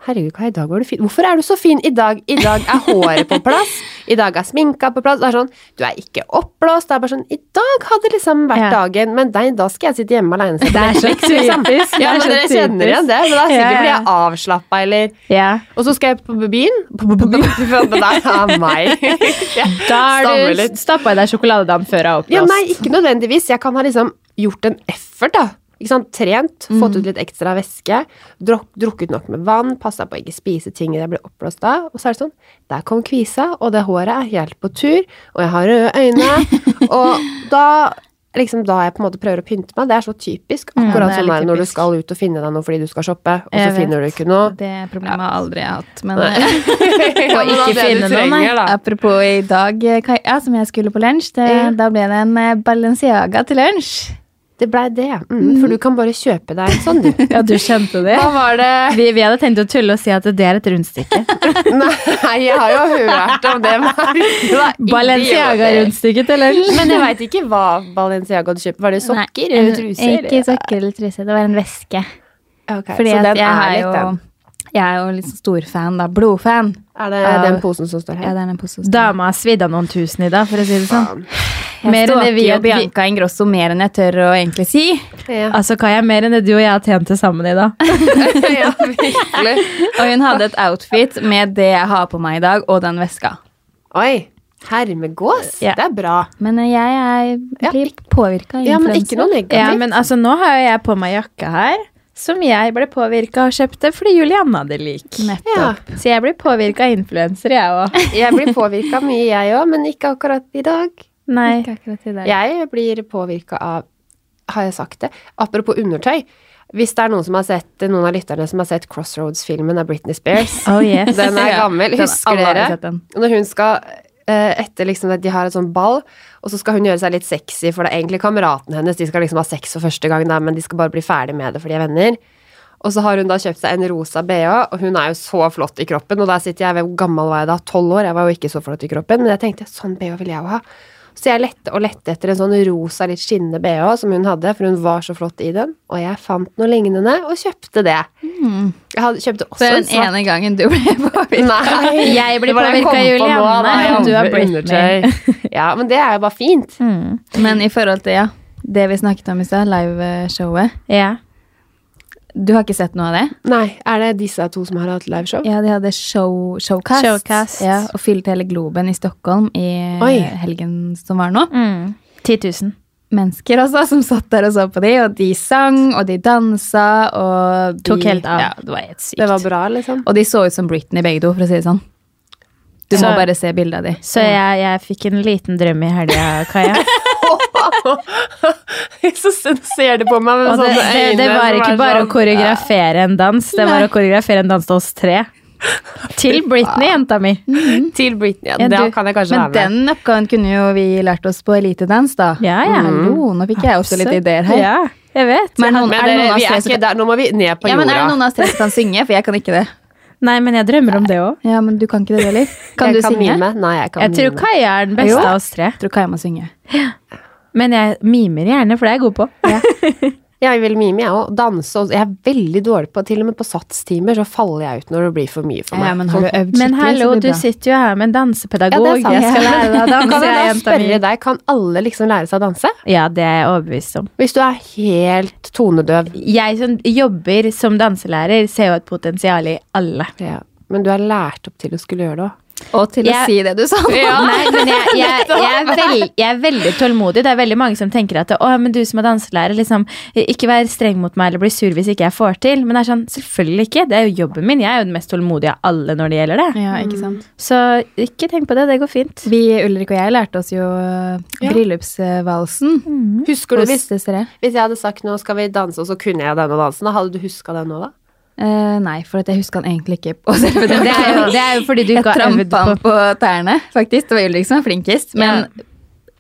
[SPEAKER 4] Herregud, hva i dag var du fin? Hvorfor er du så fin i dag? I dag er håret på plass. I dag er sminka på plass. Det er sånn, du er ikke oppblåst. Det er bare sånn I dag hadde liksom vært
[SPEAKER 2] Ja.
[SPEAKER 4] dagen, men nei, da skal jeg sitte hjemme aleine. Det
[SPEAKER 2] er så typisk.
[SPEAKER 4] Ja,
[SPEAKER 2] Det er
[SPEAKER 4] men
[SPEAKER 2] så
[SPEAKER 4] dere kjenner igjen
[SPEAKER 2] typisk.
[SPEAKER 4] det. Men da sikkert
[SPEAKER 2] Ja,
[SPEAKER 4] blir
[SPEAKER 2] ja.
[SPEAKER 4] jeg avslappa, eller
[SPEAKER 2] Ja.
[SPEAKER 4] Og så skal jeg på byen. Det er meg.
[SPEAKER 2] Da
[SPEAKER 4] Stammer
[SPEAKER 2] har du
[SPEAKER 4] litt.
[SPEAKER 2] stappa i deg sjokoladedam før jeg har
[SPEAKER 4] Ja,
[SPEAKER 2] oppblåst.
[SPEAKER 4] nei, ikke nødvendigvis. Jeg kan ha liksom gjort en effort, da. Ikke sant? Trent, fått ut litt ekstra væske, druk, drukket nok med vann, passa på å ikke spise ting jeg blir oppblåst av. Og så er det sånn Der kom kvisa, og det håret er helt på tur, og jeg har røde øyne. og da Liksom da jeg på en måte prøver å pynte meg, det er så typisk. Akkurat
[SPEAKER 3] det er
[SPEAKER 4] sånn
[SPEAKER 3] litt
[SPEAKER 4] der når du
[SPEAKER 3] typisk.
[SPEAKER 4] skal ut og finne deg noe fordi du skal shoppe, og så
[SPEAKER 2] Jeg vet.
[SPEAKER 4] finner du ikke noe.
[SPEAKER 3] Det problemet har aldri jeg hatt. Men
[SPEAKER 4] og
[SPEAKER 2] ikke finne noe, nei.
[SPEAKER 3] apropos i dag, eh, Kaja, som jeg skulle på lunsj, det,
[SPEAKER 4] Ja.
[SPEAKER 3] da ble det en eh, Balenciaga til lunsj.
[SPEAKER 4] Det blei det, ja. Mm, for du kan bare kjøpe deg en sånn, du.
[SPEAKER 2] Ja, du kjente det?
[SPEAKER 4] Hva var det
[SPEAKER 2] Vi, vi hadde tenkt å tulle og si at det er et rundstykke.
[SPEAKER 4] Nei, jeg har jo hørt om det.
[SPEAKER 2] Balenciaga-rundstykket til lunsj.
[SPEAKER 4] Men jeg veit ikke hva Balenciaga hadde kjøpt. Var det sokker eller truser?
[SPEAKER 3] Ikke sokker eller truse. Det var en veske.
[SPEAKER 4] Ok,
[SPEAKER 3] Fordi
[SPEAKER 4] så
[SPEAKER 3] at
[SPEAKER 4] den
[SPEAKER 3] jeg,
[SPEAKER 4] er
[SPEAKER 3] er
[SPEAKER 4] litt
[SPEAKER 3] jo,
[SPEAKER 4] den.
[SPEAKER 3] jeg er jo litt sånn storfan, da. Blodfan.
[SPEAKER 4] Er det
[SPEAKER 3] av-
[SPEAKER 4] den posen som står
[SPEAKER 3] Ja,
[SPEAKER 4] her?
[SPEAKER 3] det er den posen.
[SPEAKER 2] Dama har svidd av noen tusen i dag, for å si det sånn.
[SPEAKER 3] Jeg
[SPEAKER 2] Mer enn det vi
[SPEAKER 3] stalker jo
[SPEAKER 2] at vi-
[SPEAKER 3] Bianca Ingrosso mer enn jeg tør å egentlig si.
[SPEAKER 4] Ja.
[SPEAKER 2] Altså, Kaja, mer enn det du og jeg har tjent til sammen i dag.
[SPEAKER 4] ja, virkelig.
[SPEAKER 3] Og hun hadde et outfit med det jeg har på meg i dag, og den veska.
[SPEAKER 4] Oi. Hermegås.
[SPEAKER 2] Ja.
[SPEAKER 4] Det er bra.
[SPEAKER 3] Men eh, jeg, er-
[SPEAKER 4] Ja,
[SPEAKER 3] blir påvirka av
[SPEAKER 4] Ja, men ikke noe
[SPEAKER 3] influensa.
[SPEAKER 4] negativt.
[SPEAKER 2] Ja, men altså, nå har jo jeg på meg jakka her, som jeg ble påvirka og kjøpte fordi Julianne hadde lik.
[SPEAKER 4] Ja.
[SPEAKER 3] Nettopp.
[SPEAKER 2] Så jeg blir påvirka av influensere, jeg òg.
[SPEAKER 4] Jeg blir påvirka mye, jeg òg, men ikke akkurat i dag.
[SPEAKER 2] Nei.
[SPEAKER 3] Ikke akkurat i dag.
[SPEAKER 4] Jeg blir påvirka av Har jeg sagt det? Apropos undertøy. Hvis det er noen, som har sett, noen av lytterne som har sett Crossroads-filmen av Britney Spears
[SPEAKER 2] Oh yes.
[SPEAKER 4] Den er
[SPEAKER 3] Ja,
[SPEAKER 4] gammel.
[SPEAKER 3] den-
[SPEAKER 4] Husker
[SPEAKER 3] alle har
[SPEAKER 4] dere?
[SPEAKER 3] sett den.
[SPEAKER 4] Når hun skal eh, etter liksom at de har et sånn ball, og så skal hun gjøre seg litt sexy, for det er egentlig kameraten hennes, de skal liksom ha sex for første gang, da, men de skal bare bli ferdig med det, for de er venner. Og så har hun da kjøpt seg en rosa bh, og hun er jo så flott i kroppen. Og der sitter jeg, hvor gammel var jeg da? Tolv år? Jeg var jo ikke så flott i kroppen, men jeg tenkte sånn bh vil jeg jo ha. Så jeg lette og lette etter en sånn rosa, litt skinnende bh som hun hadde, for hun var så flott i den. Og jeg fant noe lignende, og kjøpte det. Jeg hadde, kjøpte
[SPEAKER 3] Så er
[SPEAKER 4] også en
[SPEAKER 3] den
[SPEAKER 4] svart
[SPEAKER 3] ene gangen du ble påvirka.
[SPEAKER 4] Nei,
[SPEAKER 2] Jeg blir
[SPEAKER 4] det var det jeg
[SPEAKER 2] påvirket
[SPEAKER 4] kom
[SPEAKER 2] av
[SPEAKER 4] på nå,
[SPEAKER 2] Julianne,
[SPEAKER 4] da, jeg
[SPEAKER 2] og du
[SPEAKER 4] hadde
[SPEAKER 2] er Britney.
[SPEAKER 4] undertøy. Ja, men det er jo bare fint.
[SPEAKER 2] Mm.
[SPEAKER 3] Men i forhold til ja, det vi snakket om i stad, liveshowet
[SPEAKER 2] Ja.
[SPEAKER 3] Du har ikke sett noe av det?
[SPEAKER 4] Nei, er det disse to som har hatt liveshow?
[SPEAKER 3] Ja, de hadde show, showcast,
[SPEAKER 2] Showcast.
[SPEAKER 3] Ja, og fylte hele Globen i Stockholm i eh,
[SPEAKER 4] Oi.
[SPEAKER 3] helgen som var nå.
[SPEAKER 2] Mm. 10 000.
[SPEAKER 3] Mennesker altså, som satt der og så på de, og de sang, og de dansa, og de
[SPEAKER 2] Tok helt av.
[SPEAKER 3] Ja, det var helt sykt.
[SPEAKER 4] Det var bra, liksom.
[SPEAKER 3] Og de så ut som Britney begge to, for å si det sånn. Du må
[SPEAKER 2] Så-
[SPEAKER 3] bare se bildet av de.
[SPEAKER 2] Så jeg, jeg fikk en liten drøm i helga, Kaja.
[SPEAKER 4] Så ser de på meg med
[SPEAKER 2] Og det,
[SPEAKER 4] sånne
[SPEAKER 2] det, det
[SPEAKER 4] sånn øyne
[SPEAKER 2] var
[SPEAKER 4] som
[SPEAKER 2] ikke
[SPEAKER 4] er
[SPEAKER 2] bare å
[SPEAKER 4] sånn-
[SPEAKER 2] koreografere en dans, det var å koreografere en dans til oss tre. Til Britney, jenta mi.
[SPEAKER 4] Mm. Til Britney. Ja,
[SPEAKER 2] Ja,
[SPEAKER 4] det
[SPEAKER 2] du-
[SPEAKER 4] kan jeg kanskje
[SPEAKER 3] Men
[SPEAKER 4] være med.
[SPEAKER 3] den oppgaven kunne jo vi lært oss på elitedans, da. Mm.
[SPEAKER 2] Ja, ja.
[SPEAKER 3] Hallo, nå fikk jeg også litt
[SPEAKER 2] Absolutt.
[SPEAKER 3] ideer her.
[SPEAKER 2] Ja, jeg vet.
[SPEAKER 3] Men, noen,
[SPEAKER 4] Men
[SPEAKER 3] er det
[SPEAKER 4] dere,
[SPEAKER 3] noen av
[SPEAKER 4] vi
[SPEAKER 3] oss tre
[SPEAKER 4] er
[SPEAKER 3] som
[SPEAKER 4] ikke der. Nå må vi ned på
[SPEAKER 3] ja, men er det noen
[SPEAKER 4] jorda.
[SPEAKER 3] av oss tre som kan synge? For jeg kan ikke det.
[SPEAKER 2] Nei, men jeg drømmer om det òg.
[SPEAKER 3] Ja, men du kan ikke det heller. Kan
[SPEAKER 4] jeg
[SPEAKER 3] du
[SPEAKER 4] kan
[SPEAKER 3] synge?
[SPEAKER 4] Mime. Nei, jeg kan
[SPEAKER 2] Jeg tror
[SPEAKER 4] mime.
[SPEAKER 2] Kaja er den beste
[SPEAKER 3] Jo.
[SPEAKER 2] av oss tre.
[SPEAKER 3] Jeg tror Kaja må synge.
[SPEAKER 2] Men jeg mimer gjerne, for det er jeg god på.
[SPEAKER 4] Jeg vil mime, jeg òg. Danse også. Jeg er veldig dårlig på Til og med på satstimer så faller jeg ut når det blir for mye for meg.
[SPEAKER 3] Ja, sånn. men har du øvd skikkelig,
[SPEAKER 2] Men hallo,
[SPEAKER 3] så blir
[SPEAKER 2] du
[SPEAKER 3] det bra.
[SPEAKER 2] sitter jo her med en dansepedagog.
[SPEAKER 4] Ja, det er sant.
[SPEAKER 2] jeg skal lære deg å
[SPEAKER 4] Kan
[SPEAKER 2] danse,
[SPEAKER 4] jeg da
[SPEAKER 2] jenta mi.
[SPEAKER 4] spørre deg, kan alle liksom lære seg å danse?
[SPEAKER 2] Ja, det er jeg overbevist om.
[SPEAKER 4] Hvis du er helt tonedøv.
[SPEAKER 2] Jeg som jobber som danselærer, ser jo et potensial i alle.
[SPEAKER 4] Ja. Men du er lært opp til å skulle gjøre det òg.
[SPEAKER 3] Og til
[SPEAKER 2] Jeg-
[SPEAKER 3] å si det du sa nå.
[SPEAKER 2] Nei, men jeg, jeg, jeg, er veld, jeg er veldig tålmodig. Det er veldig mange som tenker at å, men du som er danselærer, liksom, ikke vær streng mot meg eller bli sur hvis ikke jeg får til. Men det er sånn, selvfølgelig ikke. Det er jo jobben min. Jeg er jo den mest tålmodige av alle når det gjelder det.
[SPEAKER 3] Ja, ikke sant.
[SPEAKER 2] Så ikke tenk på det. Det går fint.
[SPEAKER 3] Vi, Ulrik og jeg, lærte oss jo eh, bryllupsvalsen.
[SPEAKER 2] Mm.
[SPEAKER 4] Husker du
[SPEAKER 3] Hos
[SPEAKER 4] hvis,
[SPEAKER 3] dessere.
[SPEAKER 4] hvis jeg hadde sagt nå skal vi danse, og så kunne jeg denne dansen, da hadde du huska den nå, da?
[SPEAKER 3] Eh, nei, for at jeg huska han egentlig ikke på selve
[SPEAKER 2] Det er jo, det er jo fordi du
[SPEAKER 3] Jeg
[SPEAKER 2] ikke har øvd
[SPEAKER 3] trampa
[SPEAKER 2] på
[SPEAKER 3] han på tærne, faktisk. Det var Ulrik som var flinkest. Men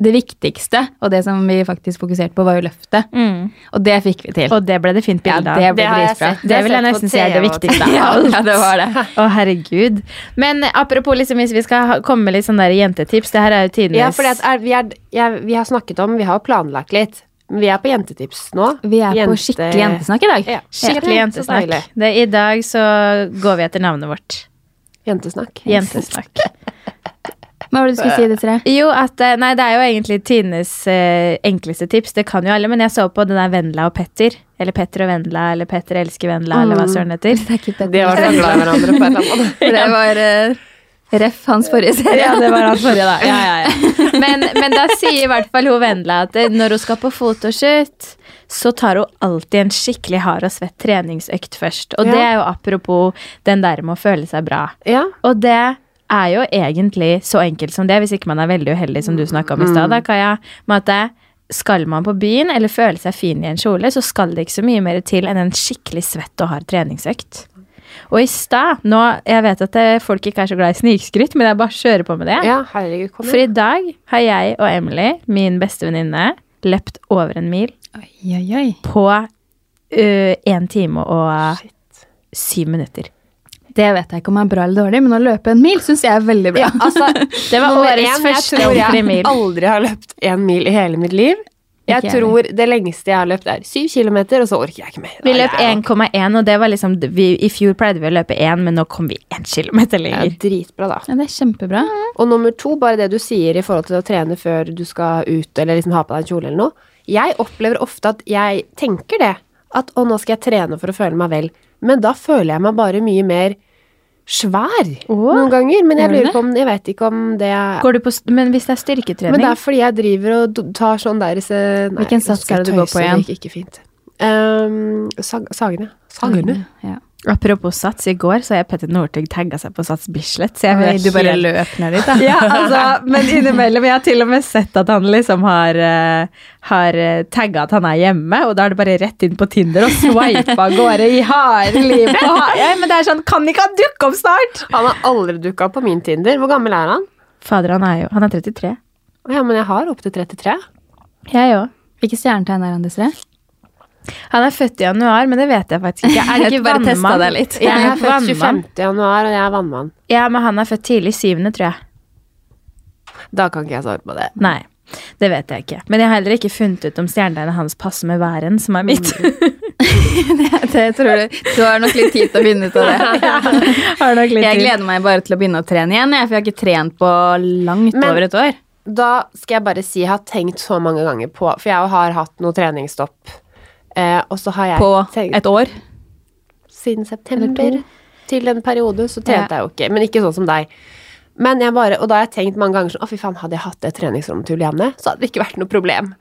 [SPEAKER 3] det viktigste, og det som vi faktisk fokuserte på, var jo løftet.
[SPEAKER 2] mm.
[SPEAKER 3] Og det fikk vi til.
[SPEAKER 2] Og det ble det fint
[SPEAKER 3] Ja,
[SPEAKER 2] bilde av.
[SPEAKER 3] det ble
[SPEAKER 4] Det har jeg
[SPEAKER 3] dritbra.
[SPEAKER 4] sett.
[SPEAKER 2] Det vil jeg
[SPEAKER 4] sett på
[SPEAKER 2] nesten si er det
[SPEAKER 4] TV og
[SPEAKER 2] viktigste
[SPEAKER 4] sånn.
[SPEAKER 2] av alt.
[SPEAKER 3] Ja, det var det.
[SPEAKER 2] Å, herregud. Men apropos, liksom, hvis vi skal ha- komme med litt sånne der jentetips Det her er jo tidenes
[SPEAKER 4] Ja, for vi, er- jeg- vi har snakket om, vi har jo planlagt litt, men vi er på jentetips nå.
[SPEAKER 3] Vi er på
[SPEAKER 4] Jente-
[SPEAKER 3] skikkelig jentesnakk i dag.
[SPEAKER 4] Ja,
[SPEAKER 2] skikkelig
[SPEAKER 4] Ja, så
[SPEAKER 2] jentesnakk.
[SPEAKER 4] deilig.
[SPEAKER 2] Det, I dag så går vi etter navnet vårt.
[SPEAKER 4] Jentesnakk.
[SPEAKER 2] Jentesnakk.
[SPEAKER 3] Hva var det du skulle si, Desiree?
[SPEAKER 2] Jo, at eh, Nei, det er jo egentlig tidenes eh, enkleste tips. Det kan jo alle, men jeg så på den der Vendela og Petter. Eller Petter og Vendela, eller Petter elsker Vendela, eller hva søren det heter.
[SPEAKER 3] Det er ikke Petter.
[SPEAKER 4] Det var så glad i hverandre på en eller annen måte.
[SPEAKER 3] For det var eh, ref hans forrige serie.
[SPEAKER 2] Ja, det var han forrige, da. Ja, ja, ja. Men, men da sier i hvert fall hun Vendela at eh, når hun skal på fotoshoot, så tar hun alltid en skikkelig hard og svett treningsøkt først. Og
[SPEAKER 4] Ja.
[SPEAKER 2] det er jo apropos den der med å føle seg bra.
[SPEAKER 4] Ja.
[SPEAKER 2] Og det er jo egentlig så enkelt som det, hvis ikke man er veldig uheldig, som du snakka om i stad,
[SPEAKER 4] Mm.
[SPEAKER 2] da, Kaja. Med at det, skal man på byen eller føle seg fin i en kjole, så skal det ikke så mye mer til enn en skikkelig svett og hard treningsøkt. Og i stad nå, Jeg vet at eh, folk ikke er så glad i snikskryt, men jeg bare kjører på med det.
[SPEAKER 4] ja, herregud, kom
[SPEAKER 2] For i dag har jeg og Emily, min beste venninne, løpt over en mil
[SPEAKER 3] Oi, oi, oi.
[SPEAKER 2] på én time og syv minutter.
[SPEAKER 3] Det vet jeg ikke om er bra eller dårlig, men å løpe en mil syns jeg er veldig bra.
[SPEAKER 2] Det var
[SPEAKER 4] Nummer
[SPEAKER 2] årets
[SPEAKER 4] én,
[SPEAKER 2] første
[SPEAKER 4] jeg tror
[SPEAKER 2] ordentlige
[SPEAKER 4] jeg
[SPEAKER 2] mil.
[SPEAKER 4] aldri har løpt en mil i hele mitt liv. Jeg
[SPEAKER 3] Ikke jeg
[SPEAKER 4] tror det lengste jeg har løpt, er syv kilometer, og så orker jeg ikke mer.
[SPEAKER 2] Vi
[SPEAKER 4] Nei,
[SPEAKER 2] løp
[SPEAKER 4] det er jo-
[SPEAKER 2] 1,1, og det var liksom vi, I fjor pleide vi å løpe 1, men nå kom vi 1 kilometer
[SPEAKER 4] Det er
[SPEAKER 2] lenger.
[SPEAKER 4] dritbra, da.
[SPEAKER 3] Ja, det er kjempebra.
[SPEAKER 4] Og nummer to, bare det du sier i forhold til å trene før du skal ut, eller liksom ha på deg en kjole eller noe. Jeg opplever ofte at jeg tenker det. At å, nå skal jeg trene for å føle meg vel. Men da føler jeg meg bare mye mer svær noen ganger. Men jeg
[SPEAKER 3] Gjør du
[SPEAKER 4] lurer
[SPEAKER 3] det?
[SPEAKER 4] på om Jeg vet ikke om det er
[SPEAKER 2] Går du på, st- men hvis det er styrketrening
[SPEAKER 4] Men det er fordi jeg driver og do- tar sånn der se, nei,
[SPEAKER 3] Hvilken
[SPEAKER 4] nå skal
[SPEAKER 3] sats er det
[SPEAKER 4] jeg
[SPEAKER 3] du går
[SPEAKER 4] tøyse,
[SPEAKER 3] på igjen?
[SPEAKER 4] Det gikk ikke fint. Ehm, sag, sagene. Sagene?
[SPEAKER 3] Ja.
[SPEAKER 2] Apropos Sats, i går så jeg Petter Northug tagga seg på Sats Bislett. Så jeg
[SPEAKER 3] Oi,
[SPEAKER 2] vet
[SPEAKER 3] du bare
[SPEAKER 2] helt-
[SPEAKER 3] løp ned dit, da.
[SPEAKER 2] Ja, altså, men innimellom. Jeg har til og med sett at han liksom har, eh, har eh, tagga at han er hjemme, og da er det bare rett inn på Tinder og swipa av gårde i harde livet. Ja, men det er sånn, kan ikke han dukke opp snart?
[SPEAKER 4] Han har aldri dukka opp på min Tinder. Hvor gammel er han?
[SPEAKER 2] Fader, han er jo Han er 33.
[SPEAKER 4] Å Ja, men jeg har opptil 33.
[SPEAKER 2] Jeg òg.
[SPEAKER 3] Hvilket stjernetegn er han, Desiree?
[SPEAKER 2] Han er født i januar, men det vet jeg faktisk ikke. Er det ikke
[SPEAKER 3] Bare testa
[SPEAKER 2] vannmann?
[SPEAKER 3] deg litt.
[SPEAKER 2] Jeg
[SPEAKER 4] Jeg
[SPEAKER 2] er
[SPEAKER 4] er født
[SPEAKER 2] vannmann.
[SPEAKER 4] 25. januar, og jeg er vannmann.
[SPEAKER 2] Ja, men han er født tidlig syvende, tror jeg.
[SPEAKER 4] Da kan ikke jeg svare på det.
[SPEAKER 2] Nei, det vet jeg ikke. Men jeg har heller ikke funnet ut om stjernetegnet hans passer med væren, som er mitt.
[SPEAKER 3] Det tror du. Du har nok litt tid til å finne ut av det.
[SPEAKER 2] har nok litt
[SPEAKER 3] Jeg
[SPEAKER 2] tid.
[SPEAKER 3] gleder meg bare til å begynne å trene igjen, jeg, for jeg har ikke trent på langt
[SPEAKER 4] Men-
[SPEAKER 3] over et år.
[SPEAKER 4] Da skal jeg bare si jeg har tenkt så mange ganger på For jeg har hatt noe treningsstopp. Eh, og så har jeg
[SPEAKER 3] På
[SPEAKER 4] tenkt
[SPEAKER 3] et år.
[SPEAKER 4] siden september til en periode, så trente
[SPEAKER 2] Ja.
[SPEAKER 4] jeg jo ikke. Men ikke sånn som deg. Men jeg bare, og da har jeg tenkt mange ganger sånn Å, fy faen, hadde jeg hatt det treningsrommet til Julianne, så hadde det ikke vært noe problem.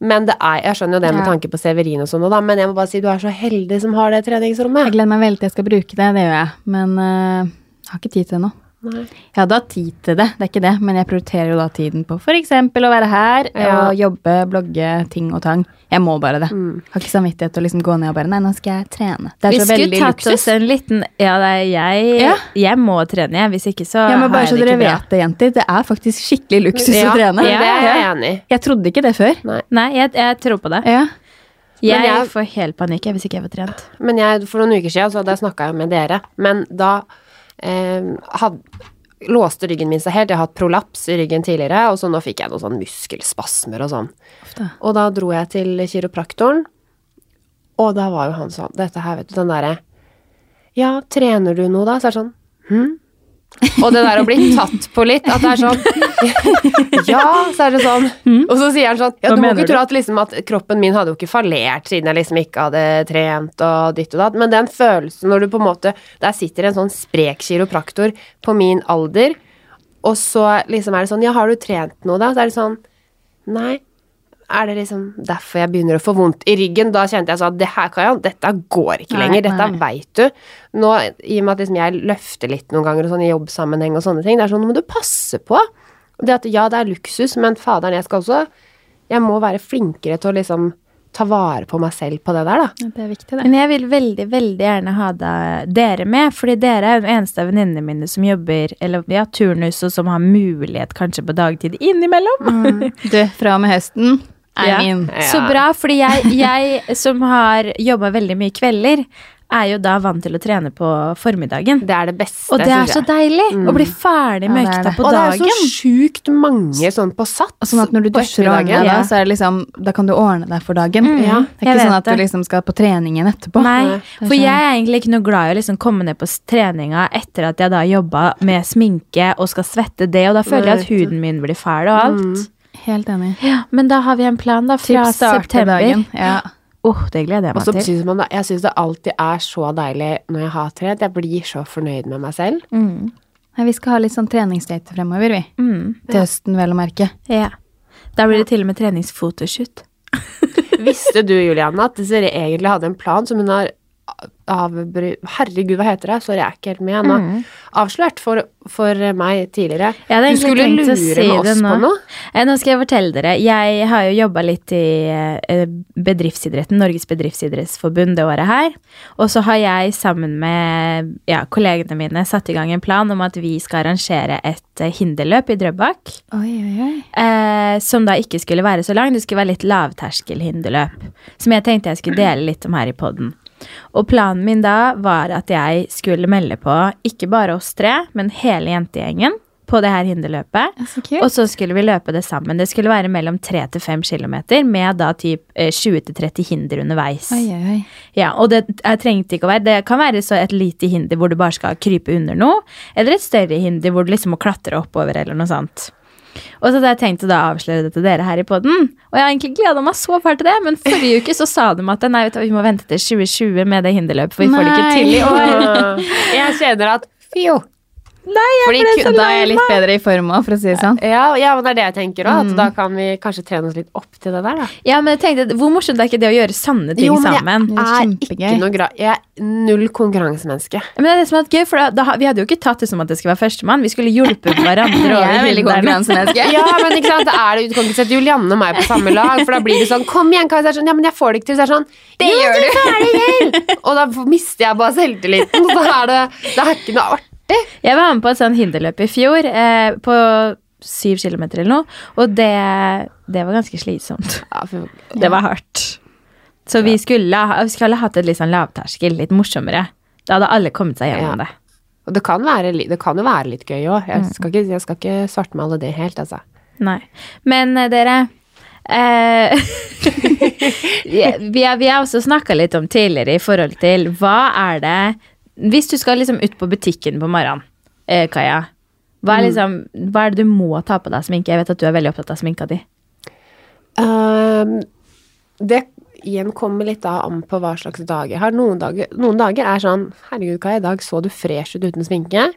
[SPEAKER 4] Men det er, jeg skjønner jo det med
[SPEAKER 3] Ja.
[SPEAKER 4] tanke på Severin og sånn, og da, men jeg må bare si du er så heldig som har det
[SPEAKER 3] Jeg
[SPEAKER 4] treningsrommet.
[SPEAKER 3] gleder meg veldig til jeg skal bruke det, det gjør jeg. Men eh, jeg har ikke tid til det nå.
[SPEAKER 4] Nei.
[SPEAKER 3] Jeg hadde hatt tid til det, det er ikke det, men jeg prioriterer jo da tiden på f.eks. å være her
[SPEAKER 4] Ja.
[SPEAKER 3] og jobbe, blogge, ting og tang. Jeg må bare det. Har ikke samvittighet til å liksom gå ned og bare Nei, nå skal jeg trene. Det er
[SPEAKER 2] Vi
[SPEAKER 3] så
[SPEAKER 2] skulle
[SPEAKER 3] veldig
[SPEAKER 2] tatt
[SPEAKER 3] luksus.
[SPEAKER 2] oss en liten Ja, det er jeg,
[SPEAKER 3] Ja.
[SPEAKER 2] jeg må trene, jeg. Hvis ikke, så
[SPEAKER 3] Ja, men bare
[SPEAKER 2] har jeg
[SPEAKER 3] så
[SPEAKER 2] det
[SPEAKER 3] dere
[SPEAKER 2] ikke bra.
[SPEAKER 3] vet det, jenter. Det er faktisk skikkelig luksus
[SPEAKER 4] Ja,
[SPEAKER 3] å trene.
[SPEAKER 4] Det er jeg enig i.
[SPEAKER 3] Jeg trodde ikke det før.
[SPEAKER 2] Nei, jeg, jeg tror på det.
[SPEAKER 3] Ja.
[SPEAKER 2] Jeg,
[SPEAKER 4] jeg-
[SPEAKER 2] får helt panikk jeg, hvis ikke jeg får trent.
[SPEAKER 4] Men jeg, for noen uker siden så hadde jeg snakka med dere, men da eh, had, låste ryggen min seg helt. Jeg har hatt prolaps i ryggen tidligere, og så nå fikk jeg noen sånn muskelspasmer og sånn. Og da dro jeg til kiropraktoren, og da var jo han sånn Dette her, vet du, den derre Ja, trener du noe da? Så er det sånn Hm? Og det der å bli tatt på litt, at det er sånn Ja, så er det sånn. Og så sier han sånn Ja,
[SPEAKER 2] Mm. Hva
[SPEAKER 4] du må
[SPEAKER 2] mener
[SPEAKER 4] ikke
[SPEAKER 2] du?
[SPEAKER 4] tro at, liksom, at kroppen min hadde jo ikke fallert siden jeg liksom ikke hadde trent og ditt og datt, men den følelsen når du på en måte Der sitter en sånn sprek kiropraktor på min alder, og så liksom er det sånn Ja, har du trent noe da? Så er det sånn Nei. Er det liksom derfor jeg begynner å få vondt i ryggen? Da kjente jeg sånn at det her, Kaja, dette går ikke
[SPEAKER 3] Nei,
[SPEAKER 4] lenger. Dette
[SPEAKER 3] nei.
[SPEAKER 4] veit du. Nå, i og med at liksom jeg løfter litt noen ganger og sånn i jobbsammenheng og sånne ting, det er sånn, nå må du passe på. Det at ja, det er luksus, men faderen, jeg skal også Jeg må være flinkere til å liksom ta vare på meg selv på det der, da.
[SPEAKER 3] Det er viktig,
[SPEAKER 2] Men jeg vil veldig veldig gjerne ha deg- dere med, fordi dere er den eneste av venninnene mine som jobber eller vi har turnus, og som har mulighet kanskje på dagtid innimellom.
[SPEAKER 3] Du, fra og med høsten er
[SPEAKER 2] Ja.
[SPEAKER 3] min.
[SPEAKER 2] Så bra, fordi jeg, jeg som har jobba veldig mye kvelder, er jo da vant til å trene på formiddagen.
[SPEAKER 4] Det er det beste,
[SPEAKER 2] Og det er så
[SPEAKER 4] synes jeg.
[SPEAKER 2] deilig å bli ferdig med
[SPEAKER 3] Ja, det er
[SPEAKER 2] økta
[SPEAKER 3] det.
[SPEAKER 2] på
[SPEAKER 4] Og det er
[SPEAKER 2] dagen.
[SPEAKER 4] så sjukt mange sånn på sats.
[SPEAKER 3] Og sånn at når du
[SPEAKER 4] på
[SPEAKER 3] dusjer og ordner deg,
[SPEAKER 4] ettermiddagen.
[SPEAKER 3] da,
[SPEAKER 2] Ja.
[SPEAKER 3] så er det liksom, da kan du ordne deg for dagen.
[SPEAKER 4] Ja,
[SPEAKER 2] jeg
[SPEAKER 3] det er ikke sånn
[SPEAKER 2] vet
[SPEAKER 3] at du
[SPEAKER 2] det.
[SPEAKER 3] liksom skal på treningen etterpå.
[SPEAKER 2] Nei,
[SPEAKER 3] er
[SPEAKER 2] for
[SPEAKER 3] sånn-
[SPEAKER 2] jeg er egentlig ikke noe glad i å liksom komme ned på s- treninga etter at jeg da jobba med sminke og skal svette det, og da føler jeg at
[SPEAKER 4] Nei, vet
[SPEAKER 2] huden min blir fæl og alt.
[SPEAKER 3] Helt enig.
[SPEAKER 2] Ja, men da har vi en plan, da, fra
[SPEAKER 3] Tips starter
[SPEAKER 2] september.
[SPEAKER 3] dagen, ja.
[SPEAKER 2] Åh, det gleder jeg
[SPEAKER 4] Og så
[SPEAKER 2] meg til.
[SPEAKER 4] synes man da, jeg syns det alltid er så deilig når jeg har trent. Jeg blir så fornøyd med meg selv.
[SPEAKER 3] Nei, vi skal ha litt sånn treningsdate fremover, vi.
[SPEAKER 2] Mm,
[SPEAKER 3] Til høsten, vel å merke.
[SPEAKER 2] ja. Da blir det til og med treningsfotoshoot.
[SPEAKER 4] Visste du, Julianne, at Desiree egentlig hadde en plan som hun har avbry... Herregud, hva heter det? Sorry, jeg er ikke helt med ennå. Avslørt for, for meg tidligere.
[SPEAKER 2] Mm. Jeg hadde
[SPEAKER 4] du
[SPEAKER 2] egentlig
[SPEAKER 4] skulle
[SPEAKER 2] tenkt å
[SPEAKER 4] lure
[SPEAKER 2] si
[SPEAKER 4] med
[SPEAKER 2] det
[SPEAKER 4] oss
[SPEAKER 2] nå.
[SPEAKER 4] på noe.
[SPEAKER 2] Eh, Nå skal jeg fortelle dere. Jeg har jo jobba litt i eh, bedriftsidretten, Norges bedriftsidrettsforbund det året her. Og så har jeg sammen med ja, kollegene mine satt i gang en plan om at vi skal arrangere et eh, hinderløp i Drøbak.
[SPEAKER 3] Oi, oi, oi.
[SPEAKER 2] Eh, som da ikke skulle være så lang. Det skulle være litt lavterskel hinderløp. Som jeg tenkte jeg skulle dele litt om her i poden. Og planen min da var at jeg skulle melde på ikke bare oss tre, men hele jentegjengen på det her hinderløpet.
[SPEAKER 3] Ja, så kult.
[SPEAKER 2] Og så skulle vi løpe det sammen. Det skulle være mellom 3 til 5 km med da typ eh, 20 til 30 hinder underveis.
[SPEAKER 3] Oi, oi, oi.
[SPEAKER 2] Ja, og det jeg trengte ikke å være. Det kan være så et lite hinder hvor du bare skal krype under noe, eller et større hinder hvor du liksom må klatre oppover eller noe sånt. Og så hadde jeg tenkt å da avsløre det til dere her i podden. Og jeg har egentlig gleda meg så fælt til det, men forrige uke så sa de at nei, vet du, hva, vi må vente til 2020 med det hinderløpet, for vi får det ikke til i år.
[SPEAKER 4] Jeg kjenner at fjo.
[SPEAKER 2] Nei, jeg
[SPEAKER 4] Fordi
[SPEAKER 2] ble
[SPEAKER 4] ku-
[SPEAKER 2] så
[SPEAKER 3] Da
[SPEAKER 2] lei
[SPEAKER 3] er jeg litt bedre i form òg, for å si det sånn.
[SPEAKER 4] Ja, ja, men det er det jeg tenker òg.
[SPEAKER 2] Mm.
[SPEAKER 4] At da kan vi kanskje trene oss litt opp til det der, da.
[SPEAKER 2] Ja, men jeg tenkte, Hvor morsomt er ikke det å gjøre sanne ting sammen?
[SPEAKER 3] Det er
[SPEAKER 4] jeg er ikke
[SPEAKER 3] kjempegøy.
[SPEAKER 4] noe gra... Jeg er null konkurransemenneske.
[SPEAKER 2] Men det er det som er gøy, for da, da, har- Vi hadde jo ikke tatt det som at det skulle være førstemann. Vi skulle hjulpet hverandre.
[SPEAKER 3] Jeg er
[SPEAKER 2] over
[SPEAKER 3] veldig
[SPEAKER 2] hindrene.
[SPEAKER 3] konkurransemenneske.
[SPEAKER 4] Ja, men ikke sant, da er det, du kan ikke sette Julianne og meg på samme lag, for da blir det sånn Kom igjen, Kajsa. Sånn, ja, men jeg får det ikke til. Så er det sånn Det gjør du! ferdig, og da mister jeg bare selvtilliten. Så da er det, det er ikke noe artig.
[SPEAKER 2] Jeg var med på et sånn hinderløp i fjor, eh, på syv kilometer eller noe, og det, det var ganske slitsomt.
[SPEAKER 4] Ja, for,
[SPEAKER 2] Det var hardt. Så vi skulle, ha- vi skulle hatt et litt sånn lavterskel, litt morsommere. Da hadde alle kommet seg gjennom
[SPEAKER 4] Ja.
[SPEAKER 2] det.
[SPEAKER 4] og det kan, være, li- det kan jo være litt gøy òg. Jeg, skal ikke- jeg skal ikke svartmale det helt, altså.
[SPEAKER 2] Nei. Men eh, dere eh, ja, vi, har, vi har også snakka litt om tidligere i forhold til hva er det Hvis du skal liksom ut på butikken på morgenen, eh, Kaja. Hva er, liksom, hva er det du må ta på deg sminke? Jeg vet at du er veldig opptatt av sminka di.
[SPEAKER 4] Ehm, det igjen kommer litt da an på hva slags dager jeg har. Noen dager, noen dager er sånn Herregud, Kai, i dag så du fresh ut uten sminke.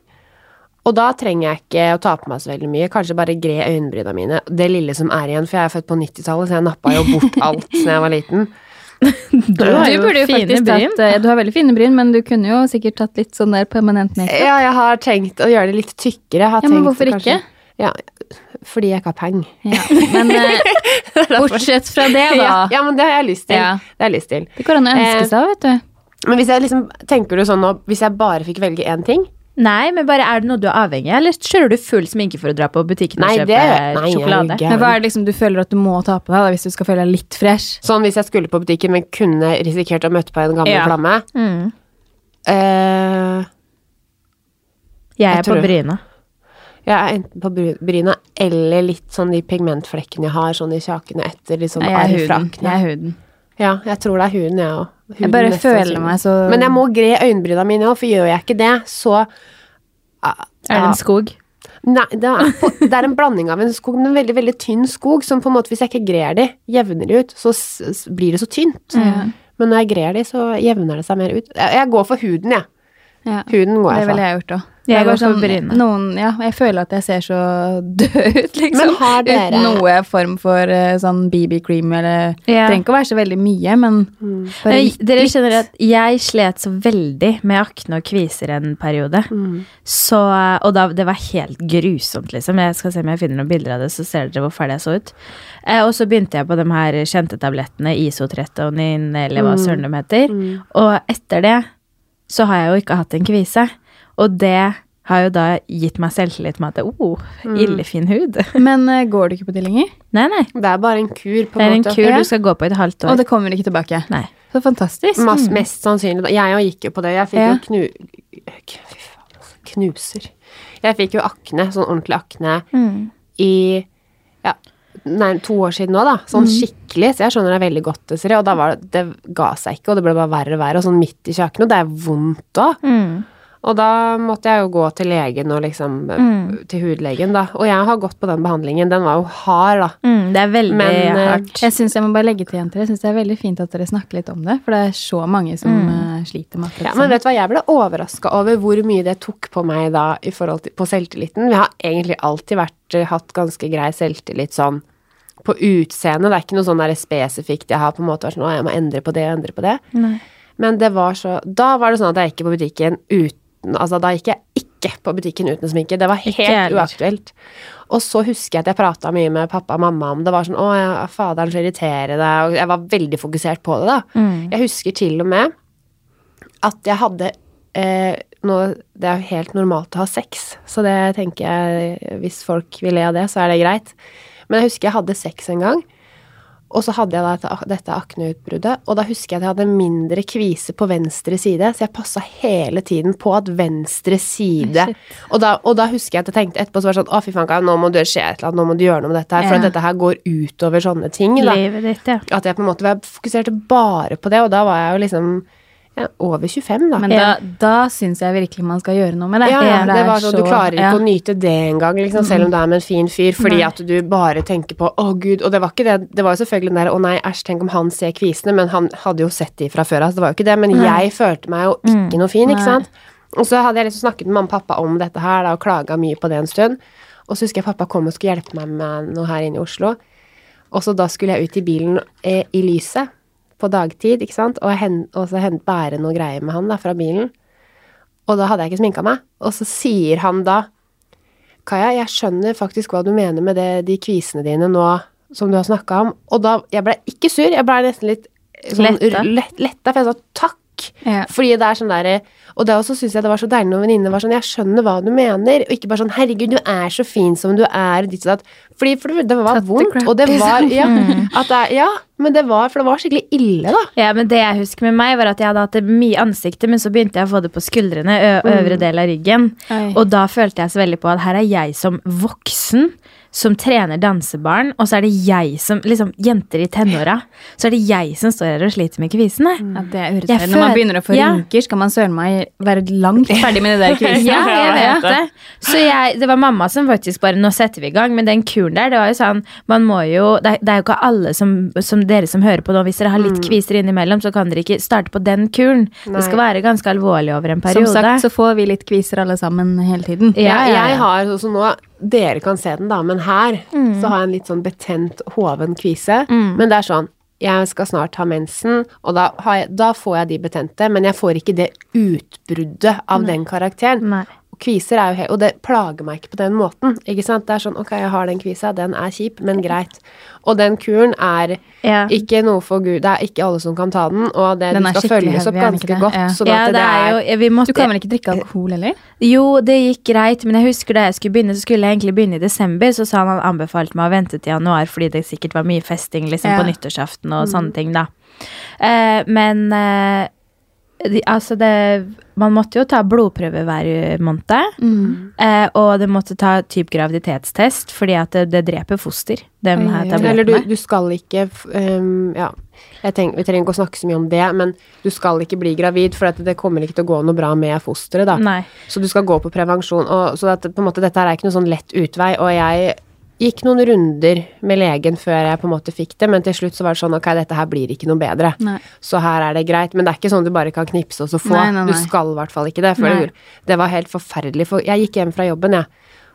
[SPEAKER 4] Og da trenger jeg ikke å ta på meg så veldig mye. Kanskje bare gre øyenbryna mine. Det lille som er igjen, for jeg er født på 90-tallet, så jeg nappa jo bort alt da jeg var liten.
[SPEAKER 2] Du har jo fine bryn.
[SPEAKER 3] tatt eh, Du har veldig fine bryn, men du kunne jo sikkert tatt litt sånn der permanent makeup.
[SPEAKER 4] Ja, jeg har tenkt å gjøre det litt tykkere. Har
[SPEAKER 3] Ja, men
[SPEAKER 4] tenkt
[SPEAKER 3] hvorfor
[SPEAKER 4] kanskje-
[SPEAKER 3] ikke?
[SPEAKER 4] Ja, fordi jeg ikke har penger.
[SPEAKER 3] Ja. Men eh, bortsett fra det, da.
[SPEAKER 4] Ja, ja, men det har jeg lyst til.
[SPEAKER 3] Ja.
[SPEAKER 4] Det har jeg lyst til.
[SPEAKER 3] Det går an å ønske seg, vet du.
[SPEAKER 4] Men hvis jeg liksom, tenker du sånn nå, hvis jeg bare fikk velge én ting
[SPEAKER 2] Nei, men bare er det noe du er avhengig av, eller kjører du full sminke for å dra på butikken
[SPEAKER 4] Nei,
[SPEAKER 2] og
[SPEAKER 4] det-
[SPEAKER 2] kjøpe
[SPEAKER 4] nei, jeg er
[SPEAKER 2] sjokolade?
[SPEAKER 4] gæren.
[SPEAKER 3] Men hva er det liksom du føler at du må ta på deg da, hvis du skal føle deg litt fresh?
[SPEAKER 4] Sånn hvis jeg skulle på butikken, men kunne risikert å møte på en gammel
[SPEAKER 2] Ja.
[SPEAKER 4] flamme.
[SPEAKER 2] Mm.
[SPEAKER 4] Eh,
[SPEAKER 2] Jeg er
[SPEAKER 4] Jeg tror-
[SPEAKER 2] på bryna.
[SPEAKER 4] jeg er enten på bry- bryna eller litt sånn de pigmentflekkene jeg har sånn i kjakene etter liksom
[SPEAKER 3] Nei,
[SPEAKER 4] arr
[SPEAKER 3] jeg er
[SPEAKER 4] fra
[SPEAKER 3] huden.
[SPEAKER 4] akne.
[SPEAKER 3] Jeg er huden.
[SPEAKER 4] Ja, jeg tror det er huden, jeg òg.
[SPEAKER 3] Jeg bare føler meg så
[SPEAKER 4] Men jeg må gre øyenbryna mine òg, for gjør jeg ikke det, så ah,
[SPEAKER 2] Er det en skog?
[SPEAKER 4] Nei, det er, på, det er en blanding av en skog, men en veldig veldig tynn skog, som på en måte, hvis jeg ikke grer de, jevner de ut, så s s blir det så tynt. Men når jeg grer de, så jevner det seg mer ut. Jeg, jeg går for huden, jeg.
[SPEAKER 3] ja.
[SPEAKER 4] Huden går
[SPEAKER 3] Det
[SPEAKER 4] jeg for.
[SPEAKER 3] ville jeg gjort òg.
[SPEAKER 2] Jeg går for brynene.
[SPEAKER 3] noen, ja, jeg føler at jeg ser så død ut, liksom.
[SPEAKER 4] Men har dere-
[SPEAKER 3] Uten noe form for eh, sånn BB-cream eller
[SPEAKER 2] Ja.
[SPEAKER 3] Trenger ikke å være så veldig mye, men bare
[SPEAKER 2] Nei,
[SPEAKER 3] litt.
[SPEAKER 2] Dere skjønner at jeg slet så veldig med akne og kviser en periode.
[SPEAKER 3] Mm.
[SPEAKER 2] Så, og da, det var helt grusomt, liksom. Jeg skal se om jeg finner noen bilder av det, så ser dere hvor fæl jeg så ut. Eh, og så begynte jeg på de her kjente tablettene, Isotrettonin, eller
[SPEAKER 3] Mm.
[SPEAKER 2] hva søren de heter. Og etter det så har jeg jo ikke hatt en kvise. Og det har jo da gitt meg selvtillit med at oh,
[SPEAKER 3] Mm.
[SPEAKER 2] illefin hud.
[SPEAKER 3] Men eh, går du ikke på det lenger?
[SPEAKER 2] Nei, nei.
[SPEAKER 4] Det er bare en kur, på
[SPEAKER 2] Det er
[SPEAKER 4] en
[SPEAKER 2] en
[SPEAKER 4] måte.
[SPEAKER 2] kur
[SPEAKER 3] Ja.
[SPEAKER 2] du skal gå på i et halvt
[SPEAKER 3] Og
[SPEAKER 2] år.
[SPEAKER 3] det kommer ikke tilbake?
[SPEAKER 2] Nei.
[SPEAKER 3] Så fantastisk.
[SPEAKER 2] Mm.
[SPEAKER 4] Mas- mest sannsynlig. da. Jeg òg gikk jo på det. Jeg fikk
[SPEAKER 3] Ja.
[SPEAKER 4] jo knu... k- Fy faen, altså, knuser. Jeg fikk jo akne, sånn ordentlig akne,
[SPEAKER 2] Mm,
[SPEAKER 4] i ja, nei, to år siden nå, da. Sånn skikkelig. Så jeg skjønner det veldig godt, Desiree. Og da var det, det ga seg ikke, og det ble bare verre og verre. Og sånn midt i kjaken, og det er vondt òg.
[SPEAKER 2] mm,
[SPEAKER 4] Og da måtte jeg jo gå til legen og liksom Til hudlegen, da. Og jeg har gått på den behandlingen. Den var jo hard, da.
[SPEAKER 2] Mm, det er veldig
[SPEAKER 4] Men, eh,
[SPEAKER 2] hardt.
[SPEAKER 3] Jeg synes jeg må bare legge til, jenter. Jeg synes det er veldig fint at dere snakker litt om det, for det er så mange som eh, sliter med akkurat
[SPEAKER 4] Mm. Ja,
[SPEAKER 3] det
[SPEAKER 4] men
[SPEAKER 3] samme.
[SPEAKER 4] vet du hva, jeg ble overraska over hvor mye det tok på meg da i forhold til, på selvtilliten. Jeg har egentlig alltid vært, eh, hatt ganske grei selvtillit sånn på utseendet. Det er ikke noe sånn der spesifikt jeg har på en måte vært sånn å, jeg må endre på det og endre på det. Men det var så Da var det sånn at jeg gikk på butikken uten Altså, da gikk jeg ikke på butikken uten sminke. Det var
[SPEAKER 2] jeg
[SPEAKER 4] helt
[SPEAKER 2] heller.
[SPEAKER 4] uaktuelt. Og så husker jeg at jeg prata mye med pappa og mamma om det. var sånn, å, ja, faderen, så irriterende. Og jeg var veldig fokusert på det, da.
[SPEAKER 2] Mm.
[SPEAKER 4] Jeg husker til og med at jeg hadde eh, nå, Det er jo helt normalt å ha sex, så det tenker jeg Hvis folk vil le av det, så er det greit. Men jeg husker jeg hadde sex en gang, og så hadde jeg da dette, dette akneutbruddet. Og da husker jeg at jeg hadde mindre kvise på venstre side, så jeg passa hele tiden på at venstre side og da, og da husker jeg at jeg tenkte etterpå så var det sånn Å, fy faen, Kai, nå må du skje et eller annet, nå må du gjøre noe med dette her, for
[SPEAKER 3] Ja.
[SPEAKER 4] at dette her går utover sånne ting. Da
[SPEAKER 2] Livet ditt, ja.
[SPEAKER 4] at jeg på en måte var- fokuserte bare på det, og da var jeg jo liksom ja, over 25, da.
[SPEAKER 3] Men da, da syns jeg virkelig man skal gjøre noe med det.
[SPEAKER 4] ja, ja,
[SPEAKER 3] For
[SPEAKER 4] det var sånn,
[SPEAKER 3] er
[SPEAKER 4] Du klarer
[SPEAKER 3] ja.
[SPEAKER 4] ikke å nyte det engang, liksom, selv om du er med en fin fyr, fordi at du bare tenker på 'å, gud', og det var ikke det. Det var jo selvfølgelig den der 'å nei, æsj, tenk om han ser kvisene', men han hadde jo sett de fra før av, så det var jo ikke det. Men jeg følte meg jo
[SPEAKER 3] Mm.
[SPEAKER 4] ikke noe fin, ikke sant. Og så hadde jeg liksom snakket med mamma og pappa om dette her, da, og klaga mye på det en stund. Og så husker jeg pappa kom og skulle hjelpe meg med noe her inne i Oslo. Og så da skulle jeg ut i bilen eh, i lyset på dagtid, ikke sant, og, hen, og så hen, bære noe greier med han da, fra bilen. Og da hadde jeg ikke sminka meg. Og så sier han da Kaja, jeg skjønner faktisk hva du mener med det, de kvisene dine nå som du har snakka om. Og da Jeg ble ikke sur, jeg ble nesten litt eh, sånn,
[SPEAKER 2] Letta.
[SPEAKER 4] r- lett, letta, for jeg sa takk.
[SPEAKER 3] Ja.
[SPEAKER 4] Fordi det er sånn der eh, Og da også syns jeg det var så deilig når venninnene var sånn Jeg skjønner hva du mener, og ikke bare sånn Herregud, du er så fin som du er, og ditt og datt. Fordi for det, det var
[SPEAKER 3] the
[SPEAKER 4] vondt,
[SPEAKER 3] crap,
[SPEAKER 4] og det var
[SPEAKER 3] liksom.
[SPEAKER 4] ja, at det, er- ja, men det var For det var skikkelig ille, da.
[SPEAKER 2] Ja, men Det jeg husker med meg, var at jeg hadde hatt det mye i ansiktet, men så begynte jeg å få det på skuldrene, ø øvre del av ryggen.
[SPEAKER 3] Oi.
[SPEAKER 2] Og da følte jeg så veldig på at her er jeg som voksen som trener dansebarn, og så er det jeg som liksom jenter i tenåra. Så er det jeg som står her og sliter med kvisene.
[SPEAKER 3] Ja, det er
[SPEAKER 2] Jeg
[SPEAKER 3] urettferdig. Når man
[SPEAKER 2] føler-
[SPEAKER 3] begynner å få
[SPEAKER 2] Ja.
[SPEAKER 3] rynker, skal man søren meg være langt ferdig med det der kviset.
[SPEAKER 2] Ja, jeg vet det. Så jeg, det var mamma som faktisk bare Nå setter vi i gang. Men den kuren der, det var jo sånn Man må jo Det er, det er jo ikke alle som, som dere som hører på nå, hvis dere har litt kviser innimellom, så kan dere ikke starte på den kuren.
[SPEAKER 4] Nei.
[SPEAKER 2] Det skal være ganske alvorlig over en
[SPEAKER 3] Som
[SPEAKER 2] periode.
[SPEAKER 3] sagt så får vi litt kviser alle sammen hele tiden.
[SPEAKER 2] Ja, ja, ja.
[SPEAKER 4] Jeg har sånn som nå Dere kan se den, da, men her
[SPEAKER 3] Mm.
[SPEAKER 4] så har jeg en litt sånn betent, hoven kvise. Men det er sånn Jeg skal snart ha mensen, og da, har jeg, da får jeg de betente, men jeg får ikke det utbruddet av den karakteren.
[SPEAKER 2] Nei.
[SPEAKER 4] Og kviser er jo helt Og det plager meg ikke på den måten. Ikke sant? Det er sånn Ok, jeg har den kvisa, den er kjip, men greit. Og den kuren er
[SPEAKER 2] Ja.
[SPEAKER 4] ikke noe for Gud Det er ikke alle som kan ta den, og det,
[SPEAKER 3] Den
[SPEAKER 4] den
[SPEAKER 3] er
[SPEAKER 4] skal
[SPEAKER 3] skikkelig
[SPEAKER 4] følges opp
[SPEAKER 3] heavy, er den ikke
[SPEAKER 4] ganske
[SPEAKER 3] det?
[SPEAKER 4] godt.
[SPEAKER 3] Ja.
[SPEAKER 4] Sånn
[SPEAKER 2] ja,
[SPEAKER 4] at
[SPEAKER 2] det er jo vi måtte,
[SPEAKER 3] Du kan vel ikke drikke alkohol heller?
[SPEAKER 2] Jo, det gikk greit, men jeg husker da jeg skulle begynne, så skulle jeg egentlig begynne i desember, så sa han han anbefalte meg å vente til januar fordi det sikkert var mye festing liksom,
[SPEAKER 3] Ja.
[SPEAKER 2] på nyttårsaften
[SPEAKER 4] Mm.
[SPEAKER 2] og sånne ting, da. Eh, men eh, de, altså det Man måtte jo ta blodprøve hver måned.
[SPEAKER 4] Mm.
[SPEAKER 2] Eh, og det måtte ta typ graviditetstest, fordi at det, det dreper foster. De
[SPEAKER 3] Oi,
[SPEAKER 2] her
[SPEAKER 3] oi, oi.
[SPEAKER 2] tablettene.
[SPEAKER 4] Eller du, du skal ikke f- ehm, Ja, jeg tenker, vi trenger ikke å snakke så mye om det, men du skal ikke bli gravid, for at det kommer ikke til å gå noe bra med fosteret, da.
[SPEAKER 2] Nei.
[SPEAKER 4] Så du skal gå på prevensjon. Og, så at, på en måte, dette her er ikke noe sånn lett utvei, og jeg gikk noen runder med legen før jeg på en måte fikk det, men til slutt så var det sånn ok, dette her blir ikke noe bedre.
[SPEAKER 3] Nei.
[SPEAKER 4] Så her er det greit. Men det er ikke sånn du bare kan knipse og så få.
[SPEAKER 3] Nei, nei,
[SPEAKER 4] Du
[SPEAKER 3] nei.
[SPEAKER 4] skal i hvert fall ikke det. før
[SPEAKER 3] Nei.
[SPEAKER 4] jul. Det var helt forferdelig. For jeg gikk hjem fra jobben, jeg.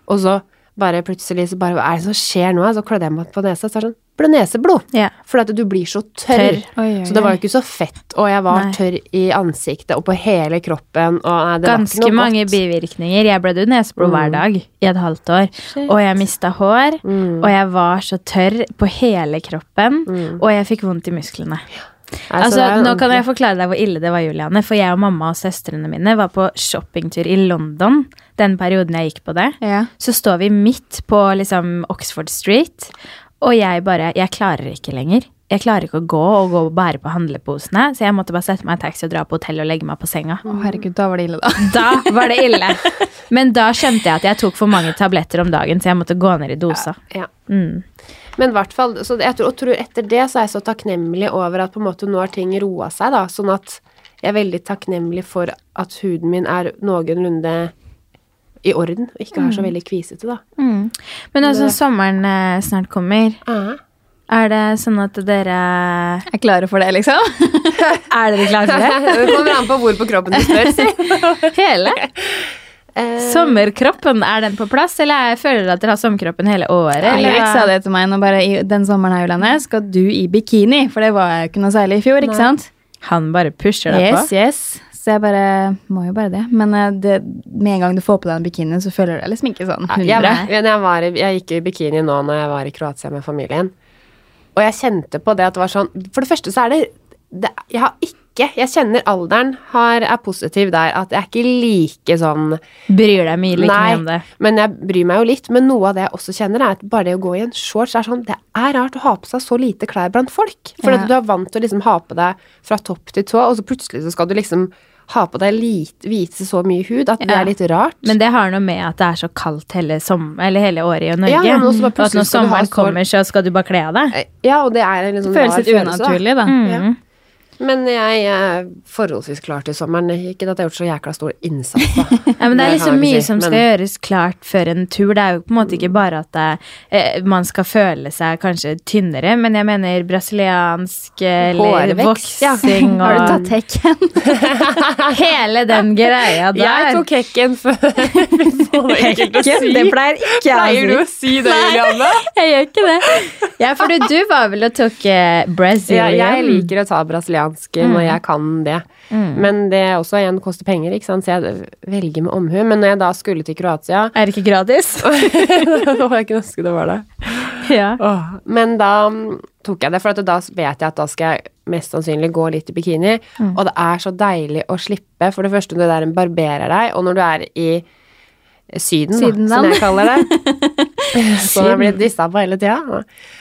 [SPEAKER 4] Og så bare plutselig så bare Hva er det som skjer nå? Så klødde jeg meg på nesa. Så er det sånn Bleneseblod.
[SPEAKER 2] Ja.
[SPEAKER 4] Fordi at du blir så tørr.
[SPEAKER 2] Tørr.
[SPEAKER 3] Oi, oi,
[SPEAKER 4] Så det var
[SPEAKER 3] oi.
[SPEAKER 4] jo ikke så fett. Og jeg var
[SPEAKER 2] Nei.
[SPEAKER 4] tørr i ansiktet og på hele kroppen. Og nei, det var
[SPEAKER 2] Ganske
[SPEAKER 4] ikke noe
[SPEAKER 2] mange
[SPEAKER 4] godt. Mm.
[SPEAKER 2] bivirkninger. Jeg ble jo neseblod hver dag i et halvt år. Og jeg mista hår,
[SPEAKER 4] Mm.
[SPEAKER 2] og jeg var så tørr på hele kroppen, og jeg fikk vondt i musklene.
[SPEAKER 4] Nei, Mm. så
[SPEAKER 2] altså,
[SPEAKER 4] det er jo
[SPEAKER 2] nå kan
[SPEAKER 4] ordentlig.
[SPEAKER 2] jeg forklare deg hvor ille det var, Juliane. For jeg og mamma og søstrene mine var på shoppingtur i London den perioden jeg gikk på det.
[SPEAKER 3] Ja.
[SPEAKER 2] Så står vi midt på liksom Oxford Street, og jeg bare Jeg klarer ikke lenger. Jeg klarer ikke å gå og gå og bære på handleposene, så jeg måtte bare sette meg i en taxi og dra på hotellet og legge meg på senga.
[SPEAKER 3] Å, herregud, da var det ille, da.
[SPEAKER 2] Da var det ille. Men da skjønte jeg at jeg tok for mange tabletter om dagen, så jeg måtte gå ned i dosa.
[SPEAKER 4] Ja.
[SPEAKER 2] Mm.
[SPEAKER 4] Men i hvert fall, så jeg tror, og tror etter det så er jeg så takknemlig over at på en måte nå har ting roa seg, da. Sånn at jeg er veldig takknemlig for at huden min er noenlunde i orden, og ikke
[SPEAKER 2] Mm.
[SPEAKER 4] er så veldig kvisete, da.
[SPEAKER 2] Men nå som sommeren eh, snart kommer,
[SPEAKER 4] Ah.
[SPEAKER 2] er det sånn at dere
[SPEAKER 3] Jeg er klare for det, liksom.
[SPEAKER 2] Er dere klare for det?
[SPEAKER 4] Det kommer an på hvor på kroppen du spør, si.
[SPEAKER 2] Hele?
[SPEAKER 4] Eh,
[SPEAKER 2] Sommerkroppen, er den på plass, eller jeg føler dere at dere har sommerkroppen hele året? eller
[SPEAKER 3] Erik
[SPEAKER 2] hva?
[SPEAKER 3] sa det til meg nå bare i den sommeren her, Juliane, skal du i bikini? For det var jeg jo ikke noe særlig i fjor, ikke sant?
[SPEAKER 2] Han bare pusher deg
[SPEAKER 3] Yes,
[SPEAKER 2] på.
[SPEAKER 3] yes. Så jeg bare må jo bare det. Men eh, det, med en gang du får på deg en bikini, så føler du deg liksom ikke sånn 100.
[SPEAKER 4] jeg, var- men jeg, var, i- jeg gikk i bikini nå når jeg var i Kroatia med familien. Og jeg kjente på det at det var sånn For det første så er det, det Jeg har ikke Jeg kjenner alderen har, er positiv der. At jeg er ikke like sånn
[SPEAKER 2] Bryr deg mye like mye om det.
[SPEAKER 4] men jeg bryr meg jo litt. Men noe av det jeg også kjenner, er at bare det å gå i en shorts er sånn Det er rart å ha på seg så lite klær blant folk. For
[SPEAKER 3] Ja.
[SPEAKER 4] at du er vant til å liksom ha på deg fra topp til tå, og så plutselig så skal du liksom ha på deg lite, vise så mye hud at det
[SPEAKER 2] Ja.
[SPEAKER 4] er litt rart.
[SPEAKER 2] Men det har noe med at det er så kaldt hele, som, eller hele året i Norge.
[SPEAKER 4] Ja, men også
[SPEAKER 2] og at
[SPEAKER 4] bare plutselig
[SPEAKER 2] når
[SPEAKER 4] skal du ha
[SPEAKER 2] sommeren
[SPEAKER 4] så-
[SPEAKER 2] kommer, så skal du bare kle av deg.
[SPEAKER 4] Eh, ja, og det er en litt sånn
[SPEAKER 3] det føles
[SPEAKER 4] rar
[SPEAKER 3] litt
[SPEAKER 4] følelse, da.
[SPEAKER 3] unaturlig, da.
[SPEAKER 4] Ja. Men jeg er forholdsvis klar til sommeren. Ikke at jeg har gjort så jækla stor innsats, da.
[SPEAKER 2] Ja, men Det er
[SPEAKER 4] kan jeg
[SPEAKER 2] liksom
[SPEAKER 4] ikke
[SPEAKER 2] mye
[SPEAKER 4] si,
[SPEAKER 2] som skal
[SPEAKER 4] men-
[SPEAKER 2] gjøres klart før en tur. Det er jo på en måte ikke bare at det, eh, man skal føle seg kanskje tynnere, men jeg mener brasiliansk eh, eller
[SPEAKER 4] Hårvekst, ja.
[SPEAKER 2] voksing
[SPEAKER 3] Har du
[SPEAKER 2] og
[SPEAKER 3] tatt hekken?
[SPEAKER 2] hele den greia der.
[SPEAKER 4] Jeg tok hekken før Hekken,
[SPEAKER 2] Ikke, det pleier ikke jeg
[SPEAKER 4] Pleier du
[SPEAKER 2] å
[SPEAKER 4] å si det, Julianne?
[SPEAKER 2] si. Jeg gjør ikke det. Ja, for du, du var vel og tok eh,
[SPEAKER 4] Ja,
[SPEAKER 2] Brazilian.
[SPEAKER 4] jeg liker å ta brasiliansk når jeg kan det. Men det er også igjen koster penger, ikke sant? så jeg velger med omhu. Men når jeg da skulle til Kroatia
[SPEAKER 2] Er det ikke gratis?
[SPEAKER 4] Da var jeg ikke ønske det var det.
[SPEAKER 2] ja.
[SPEAKER 4] Åh. Men da mm, tok jeg det, for at da vet jeg at da skal jeg mest sannsynlig gå litt i bikini. Og det er så deilig å slippe, for det første når du der barberer deg, og når du er i Syden, da, som
[SPEAKER 3] Sydenland.
[SPEAKER 4] jeg kaller det. Som jeg blir dissa på hele tida.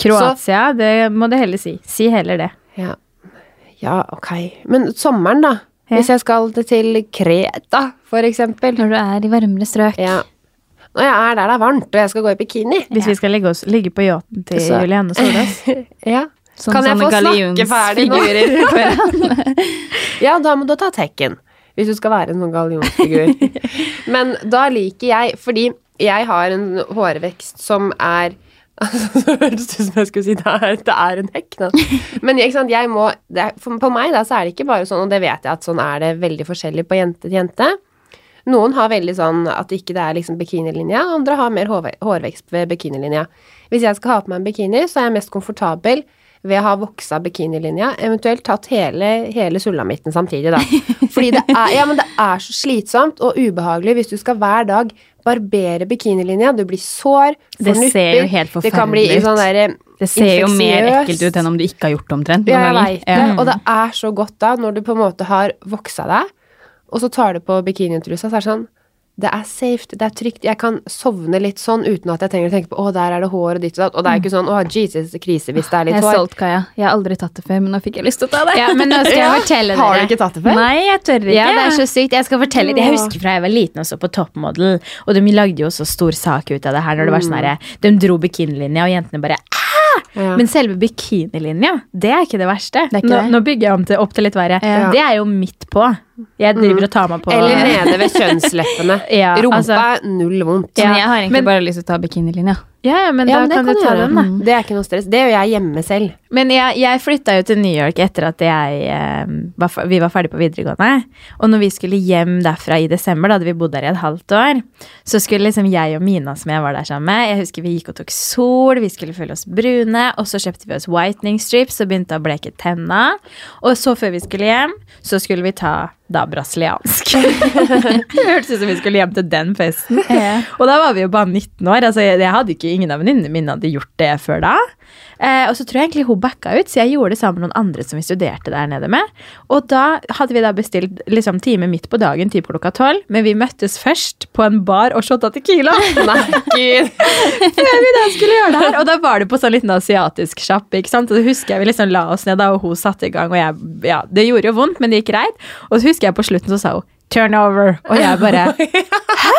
[SPEAKER 2] Kroatia, det må du heller si. Si heller det.
[SPEAKER 4] Ja. ja, ok. Men sommeren, da?
[SPEAKER 2] Ja.
[SPEAKER 4] Hvis jeg skal til Kreta, for eksempel.
[SPEAKER 3] Når du er i varmere strøk.
[SPEAKER 4] Ja. Når jeg er der det er varmt, og jeg skal gå i bikini.
[SPEAKER 2] Hvis vi skal ligge, oss, ligge på yachten til
[SPEAKER 4] Så-
[SPEAKER 2] Julianne Solås.
[SPEAKER 4] Ja.
[SPEAKER 3] Sånn Som
[SPEAKER 4] kan jeg
[SPEAKER 3] sånne
[SPEAKER 4] få snakke ferdig nå?
[SPEAKER 3] gallionsfigurer
[SPEAKER 4] Ja, da må du ta tekken. Hvis du skal være en sånn gallionsfigur. Men da liker jeg Fordi jeg har en hårvekst som er Altså, så hørtes det ut som jeg skulle si det er, det er en hekk. Da. Men ikke sant, jeg må, det er, for, på meg da, så er det ikke bare sånn, og det vet jeg at sånn er det veldig forskjellig på jente til jente. Noen har veldig sånn at ikke det er liksom bikinilinja, andre har mer hårve- hårvekst ved bikinilinja. Hvis jeg skal ha på meg en bikini, så er jeg mest komfortabel ved å ha voksa bikinilinja, eventuelt tatt hele, hele sulamitten samtidig, da. Fordi det er, ja, men det er så slitsomt og ubehagelig hvis du skal hver dag barbere bikinilinja. Du blir sår, får
[SPEAKER 2] Det
[SPEAKER 4] nupper.
[SPEAKER 2] ser jo helt
[SPEAKER 4] Det kan bli
[SPEAKER 2] forferdelig ut.
[SPEAKER 4] sånn der,
[SPEAKER 3] Det ser jo mer
[SPEAKER 4] infeksiøst.
[SPEAKER 3] ekkelt ut enn om du ikke har gjort det omtrent.
[SPEAKER 4] Ja, jeg
[SPEAKER 3] noen ganger.
[SPEAKER 4] veit det. Og det er så godt da, når du på en måte har voksa deg, og så tar du på bikinitrusa, så er det sånn det er safe, det er trygt. Jeg kan sovne litt sånn uten at jeg trenger å tenke på å, der er det hår og ditt og datt. Og det er ikke sånn å, Jesus, krise hvis det er
[SPEAKER 3] Jeg
[SPEAKER 4] litt
[SPEAKER 3] er
[SPEAKER 4] hår.
[SPEAKER 3] stolt, Kaja. Jeg har aldri tatt det før, men nå fikk jeg lyst til å ta det.
[SPEAKER 2] Ja, men nå skal jeg fortelle dere.
[SPEAKER 4] Har du ikke tatt det før?
[SPEAKER 3] Nei, jeg tør ikke.
[SPEAKER 2] Ja, det er så sykt. Jeg skal fortelle det. Jeg husker fra jeg var liten og så på Toppmodell, og de lagde jo så stor sak ut av det her når det var sånn herre De dro bikinilinja, og jentene bare «Ah!»
[SPEAKER 4] Mm. Ja.
[SPEAKER 2] Men selve bikinilinja, det er ikke det verste.
[SPEAKER 3] er ikke
[SPEAKER 2] nå,
[SPEAKER 3] det.
[SPEAKER 2] nå bygger jeg om til, opp til litt verre.
[SPEAKER 3] Ja.
[SPEAKER 2] Det er jo midt på. Jeg driver og tar meg på
[SPEAKER 4] Mm. Eller nede ved kjønnsleppene.
[SPEAKER 2] Ja,
[SPEAKER 4] Rumpa
[SPEAKER 2] altså-
[SPEAKER 4] er null vondt.
[SPEAKER 3] Men
[SPEAKER 2] Ja,
[SPEAKER 3] jeg har egentlig
[SPEAKER 2] men-
[SPEAKER 3] bare lyst til å ta bikinilinja.
[SPEAKER 2] Ja, ja, men da
[SPEAKER 4] Ja, men det
[SPEAKER 2] kan,
[SPEAKER 4] kan
[SPEAKER 2] du
[SPEAKER 4] du
[SPEAKER 2] ta
[SPEAKER 4] gjøre.
[SPEAKER 2] den, da.
[SPEAKER 4] Det er ikke noe stress. Det gjør jeg hjemme selv.
[SPEAKER 2] Men jeg, jeg flytta jo til New York etter at jeg, eh, var, fe- vi var ferdig på videregående. Og når vi skulle hjem derfra i desember, da hadde vi bodd der i et halvt år, så skulle liksom jeg og Mina, som jeg var der sammen med Jeg husker vi gikk og tok sol, vi skulle føle oss brune, og så kjøpte vi oss whitening strips og begynte å bleke tenna. Og så, før vi skulle hjem, så skulle vi ta da brasiliansk. det hørtes ut som vi skulle hjem til den festen. Og da var vi jo bare 19 år. Altså, jeg, jeg hadde ikke, ingen av venninnene mine hadde gjort det før da. Eh, og så tror jeg egentlig hun backa ut, så jeg gjorde det sammen med noen andre som vi studerte der nede med. Og da hadde vi da bestilt liksom, time midt på dagen, typ klokka tolv, men vi møttes først på en bar og shotta tequila.
[SPEAKER 4] Nei, gud.
[SPEAKER 2] Før vi da skulle gjøre det her. Og da var det på sånn liten asiatisk sjappe. ikke sant? Og så husker jeg vi liksom la oss ned, da, og hun satte i gang, og jeg Ja, det gjorde jo vondt, men det gikk greit. Og så husker jeg på slutten, så sa hun Turn over. Og jeg bare Hæ?!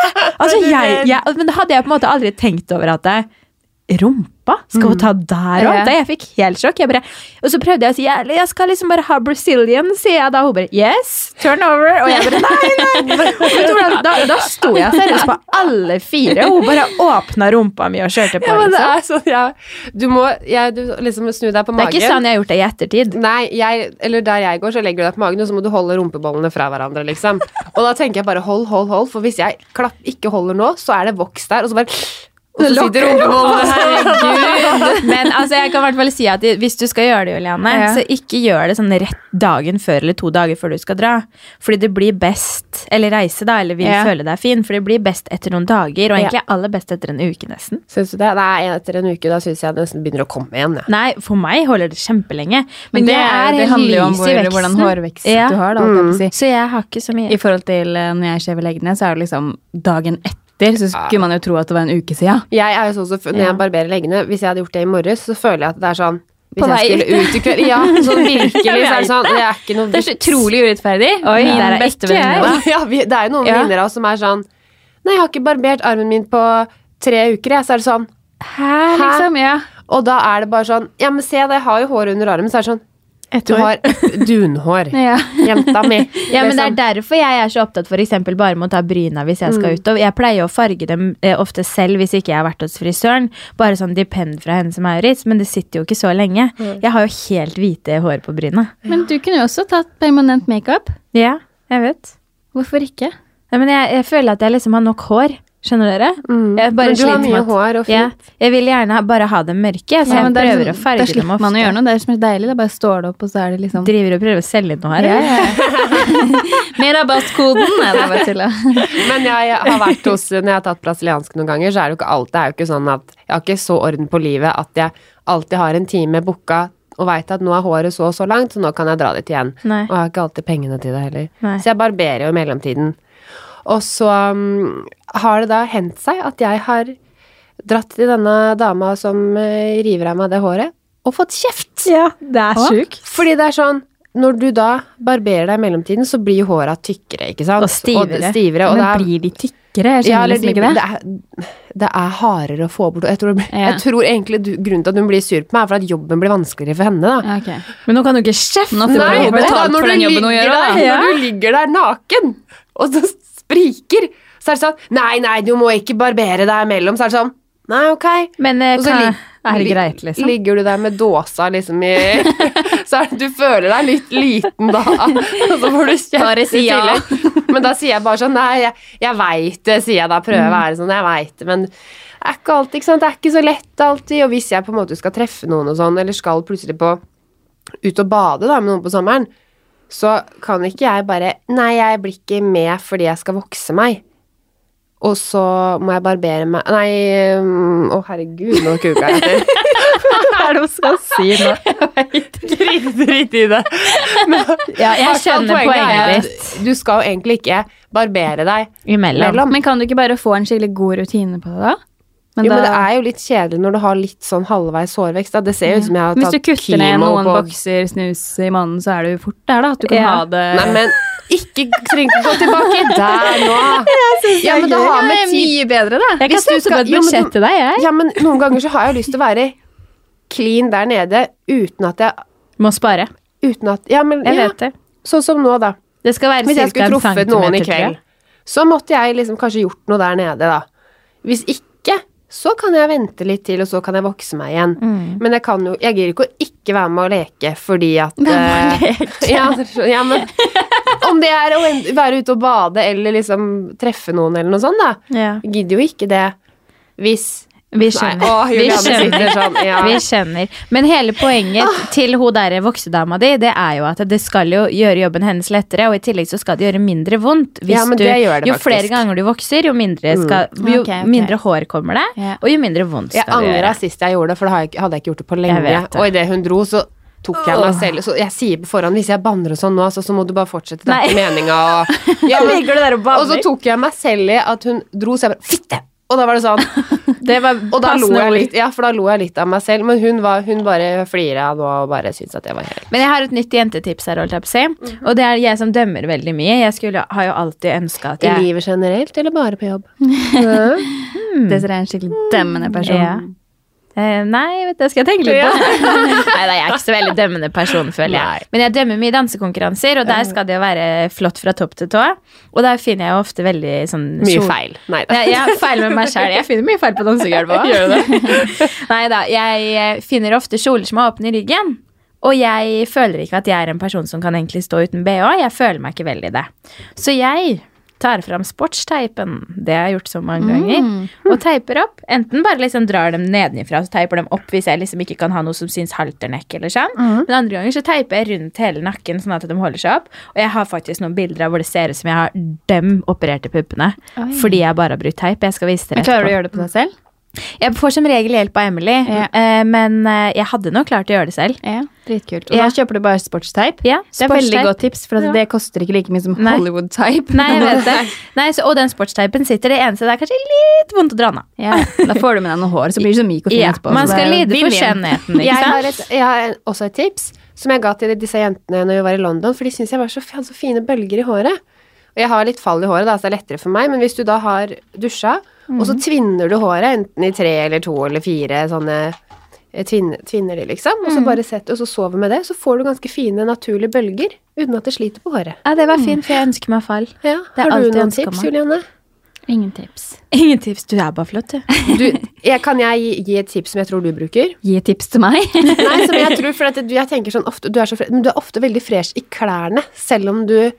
[SPEAKER 2] Altså, jeg, jeg, men da hadde jeg på en måte aldri tenkt over at jeg, Rumpa? Skal hun ta der òg?
[SPEAKER 3] Ja.
[SPEAKER 2] Eh, Jeg fikk helt sjokk. Jeg bare, og så prøvde jeg å si jeg, jeg skal liksom bare ha Brazilian, sier jeg da. Og hun bare yes, turn over. Og jeg bare nei, nei. Og vet du hvordan- Da, da sto jeg seriøst på alle fire. og Hun bare åpna rumpa mi og kjørte på.
[SPEAKER 4] Ja, men det
[SPEAKER 2] liksom.
[SPEAKER 4] er sånn, ja. Du må jeg, du, liksom snu deg på
[SPEAKER 2] Det er
[SPEAKER 4] magen.
[SPEAKER 2] ikke sånn jeg har gjort det i ettertid.
[SPEAKER 4] Nei, jeg, eller der jeg går, så legger du deg på magen, og så må du holde rumpebollene fra hverandre, liksom. Og da tenker jeg bare hold, hold, hold, for hvis jeg klapp, ikke holder nå, så er det voks der, og så bare Og så sitter rumpebollene
[SPEAKER 2] Herregud. Men altså, jeg kan i hvert fall si at hvis du skal gjøre det, Juliane,
[SPEAKER 3] Ja.
[SPEAKER 2] så ikke gjør det sånn rett dagen før eller to dager før du skal dra. Fordi det blir best Eller reise, da, eller vil
[SPEAKER 3] Ja.
[SPEAKER 2] føle deg fin. For det blir best etter noen dager, og egentlig aller best etter en uke, nesten.
[SPEAKER 4] Syns du det? Nei, etter en uke, da syns jeg det nesten begynner å komme igjen, jeg.
[SPEAKER 2] Nei, for meg holder det kjempelenge. Men,
[SPEAKER 3] Men det,
[SPEAKER 2] jeg
[SPEAKER 3] er,
[SPEAKER 2] er,
[SPEAKER 3] det
[SPEAKER 2] helt
[SPEAKER 3] handler jo om
[SPEAKER 2] lys i
[SPEAKER 3] hvor,
[SPEAKER 2] veksten.
[SPEAKER 3] hvordan hårvekst
[SPEAKER 2] Ja.
[SPEAKER 3] du har. Da, holdt jeg på å si.
[SPEAKER 2] Så jeg har ikke så mye.
[SPEAKER 3] I forhold til eh, når jeg skjever leggene, så er det liksom dagen etter. Så skulle man jo tro at det var en uke siden.
[SPEAKER 4] Jeg er jo sånn som når jeg barberer leggene, hvis jeg hadde gjort det i morges, så føler jeg at det er sånn hvis
[SPEAKER 3] På vei
[SPEAKER 4] jeg skulle ut i kveld Ja, sånn virkelig, så er
[SPEAKER 3] Jeg
[SPEAKER 4] det sånn Det er ikke noe
[SPEAKER 3] Det er så utrolig urettferdig.
[SPEAKER 2] Oi,
[SPEAKER 3] Min
[SPEAKER 2] der er
[SPEAKER 3] beste
[SPEAKER 2] ikke jeg.
[SPEAKER 3] venninne.
[SPEAKER 4] Ja, vi, det er jo noen
[SPEAKER 3] Ja.
[SPEAKER 4] venninner av oss som er sånn Nei, jeg har ikke barbert armen min på tre uker, jeg. Så er det sånn
[SPEAKER 3] Hæ, liksom? Ja.
[SPEAKER 4] Og da er det bare sånn Ja, men se, da, jeg har jo hår under armen. Så er det sånn Du har et dunhår.
[SPEAKER 3] Ja.
[SPEAKER 4] Jenta mi.
[SPEAKER 2] Ja, men Det er
[SPEAKER 4] liksom.
[SPEAKER 2] derfor jeg er så opptatt for eksempel bare med å ta bryna hvis jeg
[SPEAKER 3] Mm.
[SPEAKER 2] skal ut. Og jeg pleier å farge dem eh, ofte selv hvis ikke jeg har vært hos frisøren. Bare sånn depend fra henne som Maurits, men det sitter jo ikke så lenge.
[SPEAKER 3] Mm.
[SPEAKER 2] Jeg har jo helt hvite hår på bryna.
[SPEAKER 3] Men du kunne jo også tatt permanent makeup.
[SPEAKER 2] Ja, jeg vet.
[SPEAKER 3] Hvorfor ikke?
[SPEAKER 2] Nei, men jeg, jeg føler at jeg liksom har nok hår. Skjønner dere? Jeg bare
[SPEAKER 4] Mm. Men du har
[SPEAKER 2] sliter med
[SPEAKER 4] mye
[SPEAKER 2] at-
[SPEAKER 4] hår og fint.
[SPEAKER 2] Ja, jeg vil gjerne ha- bare ha dem mørke, så
[SPEAKER 3] Ja,
[SPEAKER 2] jeg
[SPEAKER 3] men det er
[SPEAKER 2] prøver
[SPEAKER 4] sånn-
[SPEAKER 3] liksom-
[SPEAKER 2] å farge
[SPEAKER 3] da
[SPEAKER 2] dem
[SPEAKER 3] slipper
[SPEAKER 2] ofte.
[SPEAKER 3] man å gjøre noe. Det er som er deilig. Da bare står det opp, og så er det liksom
[SPEAKER 2] Driver og prøver å selge noe her. eller?
[SPEAKER 3] Mer rabattkoden! Nei, det var tulla.
[SPEAKER 4] Men jeg har vært hos Når jeg har tatt brasiliansk noen ganger, så er det jo ikke alt Det er jo ikke sånn at Jeg har ikke så orden på livet at jeg alltid har en time booka og veit at nå er håret så og så langt, så nå kan jeg dra dit igjen.
[SPEAKER 2] Nei.
[SPEAKER 4] Og jeg har ikke alltid pengene til det heller.
[SPEAKER 2] Nei.
[SPEAKER 4] Så jeg barberer jo i mellomtiden. Og så um, har det da hendt seg at jeg har dratt til denne dama som eh, river av meg det håret, og fått kjeft!
[SPEAKER 2] Ja, det er sjukt.
[SPEAKER 4] Fordi det er sånn når du da barberer deg i mellomtiden, så blir jo håra tykkere, ikke sant?
[SPEAKER 2] Og stivere.
[SPEAKER 4] Og stivere og det
[SPEAKER 3] Men
[SPEAKER 4] er,
[SPEAKER 3] blir de tykkere? Jeg skjønner
[SPEAKER 4] ja, eller
[SPEAKER 3] liksom
[SPEAKER 4] de-
[SPEAKER 3] ikke det.
[SPEAKER 4] Det er, det er hardere å få bort og jeg tror, det blir-
[SPEAKER 3] Ja.
[SPEAKER 4] jeg tror egentlig du, grunnen til at hun blir sur på meg, er for at jobben blir vanskeligere for henne, da.
[SPEAKER 3] Ja, ok.
[SPEAKER 2] Men nå kan du ikke kjefte
[SPEAKER 3] Nå får du
[SPEAKER 2] Nei,
[SPEAKER 3] betalt
[SPEAKER 4] men da,
[SPEAKER 3] for den jobben hun
[SPEAKER 4] ligger
[SPEAKER 3] gjør, da.
[SPEAKER 4] Der,
[SPEAKER 2] Ja.
[SPEAKER 4] Når du ligger der naken, og så spriker, så er det sånn Nei, nei, du må ikke barbere deg imellom. Så er det sånn Nei, ok.
[SPEAKER 2] Men eh,
[SPEAKER 4] Og så
[SPEAKER 2] hva
[SPEAKER 4] lig-
[SPEAKER 2] er
[SPEAKER 4] lig-
[SPEAKER 2] greit, liksom?
[SPEAKER 4] Ligger du der med dåsa liksom i Så er, du føler deg litt liten da, og så får du
[SPEAKER 3] Bare
[SPEAKER 4] kjeft
[SPEAKER 3] si
[SPEAKER 4] i
[SPEAKER 3] ja.
[SPEAKER 4] tillegg. Men da sier jeg bare sånn Nei, jeg, jeg veit det, sier jeg da.
[SPEAKER 2] Mm.
[SPEAKER 4] Prøver å være sånn, jeg veit det, men det er ikke alltid, ikke sant. Det er ikke så lett alltid. Og hvis jeg på en måte skal treffe noen og sånn, eller skal plutselig på ut og bade da med noen på sommeren, så kan ikke jeg bare Nei, jeg blir ikke med fordi jeg skal vokse meg. Og så må jeg barbere meg Nei, øhm, å herregud, nå kuka jeg etter.
[SPEAKER 2] Hva er det hun skal si nå?
[SPEAKER 4] Drit, drit i det. Men,
[SPEAKER 2] Ja, jeg
[SPEAKER 4] hvert fall
[SPEAKER 2] skjønner
[SPEAKER 4] er
[SPEAKER 2] poenget
[SPEAKER 4] at Du skal jo egentlig ikke barbere deg.
[SPEAKER 2] Imellom.
[SPEAKER 4] Mellom.
[SPEAKER 3] Men kan du ikke bare få en skikkelig god rutine på det, da? Men
[SPEAKER 4] jo, men
[SPEAKER 3] da-
[SPEAKER 4] det er jo litt kjedelig når du har litt sånn halvveis hårvekst. Da. Det ser jo ut som jeg har
[SPEAKER 3] Hvis du
[SPEAKER 4] tatt
[SPEAKER 3] kutter ned
[SPEAKER 4] kimo
[SPEAKER 3] noen
[SPEAKER 4] på
[SPEAKER 3] bokser snus i måneden, så er du fort der, da. At du kan
[SPEAKER 2] Ja.
[SPEAKER 3] ha det
[SPEAKER 4] Nei, men ikke trenger ikke gå tilbake der nå. Ja, men det har med tid
[SPEAKER 3] mye bedre, da.
[SPEAKER 2] Jeg kan
[SPEAKER 4] Hvis du
[SPEAKER 2] sette opp
[SPEAKER 4] skal-
[SPEAKER 2] et
[SPEAKER 4] Jo, men du-
[SPEAKER 2] budsjett til deg, jeg.
[SPEAKER 4] Ja, men noen ganger så har jeg lyst til å være clean der nede uten at jeg
[SPEAKER 2] Må spare.
[SPEAKER 4] Uten at Ja, men
[SPEAKER 2] Jeg
[SPEAKER 4] ja,
[SPEAKER 2] vet det.
[SPEAKER 4] sånn som nå, da.
[SPEAKER 2] Det skal være
[SPEAKER 4] Hvis jeg
[SPEAKER 2] cirka
[SPEAKER 4] skulle
[SPEAKER 2] en
[SPEAKER 4] truffet noen i
[SPEAKER 2] centimeter, tror jeg.
[SPEAKER 4] kveld, så måtte jeg liksom kanskje gjort noe der nede, da. Hvis ikke, så kan jeg vente litt til, og så kan jeg vokse meg igjen.
[SPEAKER 2] Mm.
[SPEAKER 4] Men jeg kan jo Jeg gidder ikke å ikke være med å leke fordi at eh, ja, dere skjønner- ja, men Om det er å en- være ute og bade eller liksom treffe noen eller noe sånt, da.
[SPEAKER 2] Ja.
[SPEAKER 4] Jeg Gidder jo ikke det hvis
[SPEAKER 2] Vi skjønner.
[SPEAKER 4] Nei, å,
[SPEAKER 2] vi
[SPEAKER 4] Juliane
[SPEAKER 2] skjønner.
[SPEAKER 4] sitter sånn. Ja. Ah.
[SPEAKER 2] Vi skjønner. Men hele poenget til hun der voksedama di, det er jo at det skal jo gjøre jobben hennes lettere, og i tillegg så skal det gjøre mindre vondt. hvis
[SPEAKER 4] Ja, men
[SPEAKER 2] du,
[SPEAKER 4] det gjør det
[SPEAKER 2] jo
[SPEAKER 4] faktisk. Mm.
[SPEAKER 2] flere ganger du vokser, jo mindre, skal, jo
[SPEAKER 3] Ok, ok.
[SPEAKER 2] mindre hår kommer deg,
[SPEAKER 3] Ja.
[SPEAKER 2] og jo mindre vondt
[SPEAKER 4] Jeg
[SPEAKER 2] skal du
[SPEAKER 4] angra
[SPEAKER 2] gjøre.
[SPEAKER 4] sist jeg gjorde det, for da har jeg ikke- hadde jeg ikke gjort det på
[SPEAKER 2] Jeg
[SPEAKER 4] lenge.
[SPEAKER 2] vet det.
[SPEAKER 4] Og idet hun dro, så tok jeg meg selv Så jeg sier på forhånd hvis jeg banner og sånn nå, altså, så må du bare fortsette. Det
[SPEAKER 2] Nei.
[SPEAKER 4] er ikke meninga å ja, men-
[SPEAKER 2] Ligger du der og banner?
[SPEAKER 4] Og så tok jeg meg selv i at hun dro, så jeg bare Fitte! Og da var det sånn.
[SPEAKER 2] Det var
[SPEAKER 4] Og da lo
[SPEAKER 2] passende
[SPEAKER 4] jeg
[SPEAKER 2] ord.
[SPEAKER 4] litt, ja, for da lo jeg litt av meg selv. Men hun, var, hun bare flira nå og bare syntes at jeg var helt
[SPEAKER 2] Men jeg har et nytt jentetips her, holdt jeg på å si.
[SPEAKER 4] Mhm.
[SPEAKER 2] Og det er jeg som dømmer veldig mye. Jeg skulle, har jo alltid ønska at
[SPEAKER 4] I
[SPEAKER 2] jeg
[SPEAKER 4] livet generelt, eller bare på jobb? Mm.
[SPEAKER 3] Desiree er en skikkelig dømmende person.
[SPEAKER 2] Ja. Eh, nei, vet du, det skal jeg tenke litt på. nei, da, jeg er ikke så veldig dømmende person, føler jeg. Men jeg dømmer mye dansekonkurranser, og der skal det jo være flott fra topp til tå. Og der finner jeg jo ofte veldig sånn
[SPEAKER 4] Mye
[SPEAKER 2] sol-
[SPEAKER 4] feil. Nei da.
[SPEAKER 2] Nei, Jeg har feil med meg sjæl. Jeg finner mye feil på dansegulvet òg. Nei da. Jeg eh, finner ofte kjoler som er åpne i ryggen. Og jeg føler ikke at jeg er en person som kan egentlig stå uten bh. Jeg føler meg ikke vel i det. Så jeg tar fram sportsteipen. Det har jeg gjort så mange ganger. Og teiper opp. Enten bare liksom drar dem nedenifra, så teiper dem opp hvis jeg liksom ikke kan ha noe som syns halternekk eller sånn. Men andre ganger så teiper jeg rundt hele nakken sånn at de holder seg opp. Og jeg har faktisk noen bilder av hvor det ser ut som jeg har dem opererte puppene.
[SPEAKER 3] Oi.
[SPEAKER 2] Fordi jeg bare har brukt teip. Jeg skal vise dere
[SPEAKER 3] Men klarer du å
[SPEAKER 2] etterpå.
[SPEAKER 3] gjøre det på deg selv?
[SPEAKER 2] Jeg får som regel hjelp av Emily,
[SPEAKER 3] Ja.
[SPEAKER 2] eh, men eh, jeg hadde nok klart å gjøre det selv.
[SPEAKER 3] Ja, dritkult. Og
[SPEAKER 2] Ja.
[SPEAKER 3] da kjøper du bare sportsteip.
[SPEAKER 2] Ja,
[SPEAKER 3] Det er veldig
[SPEAKER 2] sportsteip.
[SPEAKER 3] godt tips, for at
[SPEAKER 2] Ja.
[SPEAKER 3] det koster ikke like mye som
[SPEAKER 2] Nei.
[SPEAKER 3] Hollywood-teip.
[SPEAKER 2] Nei, jeg vet det. Nei, så, og den sportsteipen sitter. Det eneste det er kanskje litt vondt å dra den av.
[SPEAKER 3] Ja, da får du med deg noe hår, så blir du så myk og fin
[SPEAKER 2] Ja,
[SPEAKER 3] etterpå.
[SPEAKER 2] man
[SPEAKER 3] så det
[SPEAKER 2] skal
[SPEAKER 3] er jo
[SPEAKER 2] lide for
[SPEAKER 3] vinn-vinn.
[SPEAKER 2] skjønnheten,
[SPEAKER 4] Jeg
[SPEAKER 2] ikke sant?
[SPEAKER 4] har, et, jeg har en- også et tips som jeg ga til disse jentene når vi var i London, for de syntes jeg var så, jeg hadde så fine bølger i håret. Og jeg har litt fall i håret, da, så det er lettere for meg, men hvis du da har dusja, og
[SPEAKER 2] Mhm.
[SPEAKER 4] så tvinner du håret, enten i tre eller to eller fire sånne eh, tvin, Tvinner de, liksom,
[SPEAKER 2] Mhm.
[SPEAKER 4] og så bare setter og så sover med det, så får du ganske fine, naturlige bølger uten at det sliter på håret.
[SPEAKER 2] Ja, det var fint, for jeg ønsker meg fall.
[SPEAKER 4] Ja,
[SPEAKER 2] Det er
[SPEAKER 4] har du
[SPEAKER 2] alltid
[SPEAKER 4] noen
[SPEAKER 2] ønsket
[SPEAKER 4] tips,
[SPEAKER 2] meg.
[SPEAKER 4] Julianne?
[SPEAKER 3] Ingen tips.
[SPEAKER 2] Ingen tips. Du er bare flott, du.
[SPEAKER 4] Du, jeg, kan jeg gi, gi et tips som jeg tror du bruker?
[SPEAKER 3] Gi et tips til meg.
[SPEAKER 4] Nei, som jeg tror, for at du- jeg tenker sånn ofte, du er, så, fre- men du er ofte veldig fresh i klærne, selv om du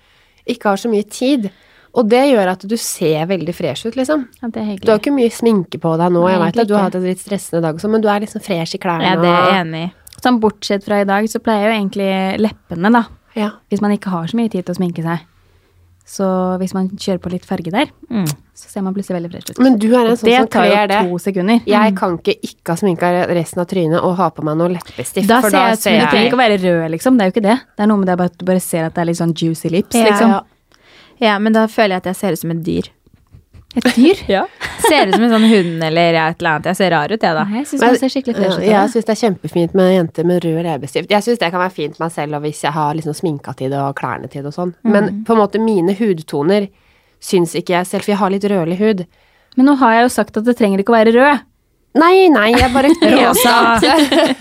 [SPEAKER 4] ikke har så mye tid. Og det gjør at du ser veldig fresh ut, liksom.
[SPEAKER 3] Ja, det er
[SPEAKER 4] Du har
[SPEAKER 3] hyggelig.
[SPEAKER 4] ikke mye sminke på deg nå, jeg
[SPEAKER 3] Nei,
[SPEAKER 4] vet at du har
[SPEAKER 3] egentlig
[SPEAKER 4] hatt en litt stressende dag også, men du er liksom fresh i klærne.
[SPEAKER 2] Ja, det er
[SPEAKER 4] og-
[SPEAKER 2] jeg enig i.
[SPEAKER 3] Sånn bortsett fra i dag, så pleier jo egentlig leppene, da.
[SPEAKER 4] Ja.
[SPEAKER 3] Hvis man ikke har så mye tid til å sminke seg. Så hvis man kjører på litt farge der, så ser man plutselig veldig fresh ut.
[SPEAKER 4] Men du er en sånn
[SPEAKER 3] det
[SPEAKER 4] som
[SPEAKER 3] tar
[SPEAKER 4] kler
[SPEAKER 3] jo
[SPEAKER 4] det.
[SPEAKER 3] to sekunder.
[SPEAKER 2] Mm.
[SPEAKER 4] Jeg kan ikke ikke ha sminka resten av trynet og ha på meg noe leppestift,
[SPEAKER 2] Da
[SPEAKER 4] for
[SPEAKER 2] ser
[SPEAKER 4] da
[SPEAKER 2] jeg ut som
[SPEAKER 4] ser
[SPEAKER 3] Men du trenger
[SPEAKER 4] jeg
[SPEAKER 3] ikke å være rød, liksom. Det er jo ikke det. Det er noe med det bare at du bare ser at det er litt sånn juicy lips,
[SPEAKER 2] Ja.
[SPEAKER 3] liksom.
[SPEAKER 2] Ja, men da føler jeg at jeg ser ut som et dyr.
[SPEAKER 3] Et dyr.
[SPEAKER 2] Ser ut som en sånn hund eller et eller annet. Jeg ser rar ut, jeg, da.
[SPEAKER 3] Nei, jeg syns
[SPEAKER 4] Men- øh,
[SPEAKER 3] man ser skikkelig fresh ut. av
[SPEAKER 4] Ja, jeg
[SPEAKER 3] det.
[SPEAKER 4] syns det er kjempefint med jenter med rød leppestift. Jeg syns det kan være fint meg selv og hvis jeg har liksom sminka til det og klærne til det og
[SPEAKER 3] Mm.
[SPEAKER 4] sånn. Men på en måte mine hudtoner syns ikke jeg selv, for jeg har litt rødlig hud.
[SPEAKER 3] Men nå har jeg jo sagt at det trenger ikke å være rød.
[SPEAKER 4] Nei, nei, jeg bare
[SPEAKER 2] Rosa.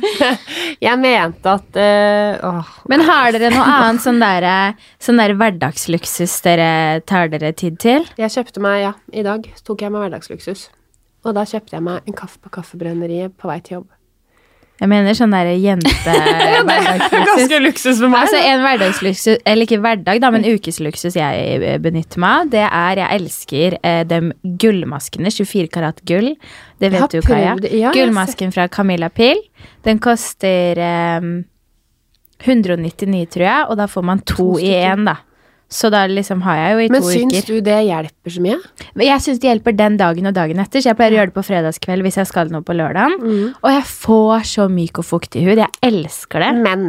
[SPEAKER 4] Jeg mente at eh, åh.
[SPEAKER 2] Men har dere noe annet sånn der, sånn der hverdagsluksus dere tar dere tid til?
[SPEAKER 4] Jeg kjøpte meg, ja, i dag tok jeg meg hverdagsluksus. Og da kjøpte jeg meg en kaffe på Kaffebrenneriet på vei til jobb.
[SPEAKER 2] Jeg mener sånn derre jente...
[SPEAKER 4] Ganske luksus for
[SPEAKER 2] Altså En hverdagsluksus, eller ikke hverdag, da, men ukesluksus jeg eh, benytter meg av, det er jeg elsker eh, de gullmaskene. 24 karat gull. Det
[SPEAKER 4] har
[SPEAKER 2] vet du, Kaja.
[SPEAKER 4] prøvd- ja, jeg
[SPEAKER 2] Gullmasken fra Camilla Pil. Den koster eh, 199, tror jeg, og da får man to, i én, da. Så da liksom har jeg jo i
[SPEAKER 4] Men
[SPEAKER 2] to
[SPEAKER 4] syns
[SPEAKER 2] uker.
[SPEAKER 4] du det hjelper så mye?
[SPEAKER 2] Men Jeg syns det hjelper den dagen og dagen etter, så jeg pleier å gjøre det på fredagskveld hvis jeg skal noe på lørdagen.
[SPEAKER 4] Mm.
[SPEAKER 2] Og jeg får så myk og fuktig hud. Jeg elsker det.
[SPEAKER 4] Men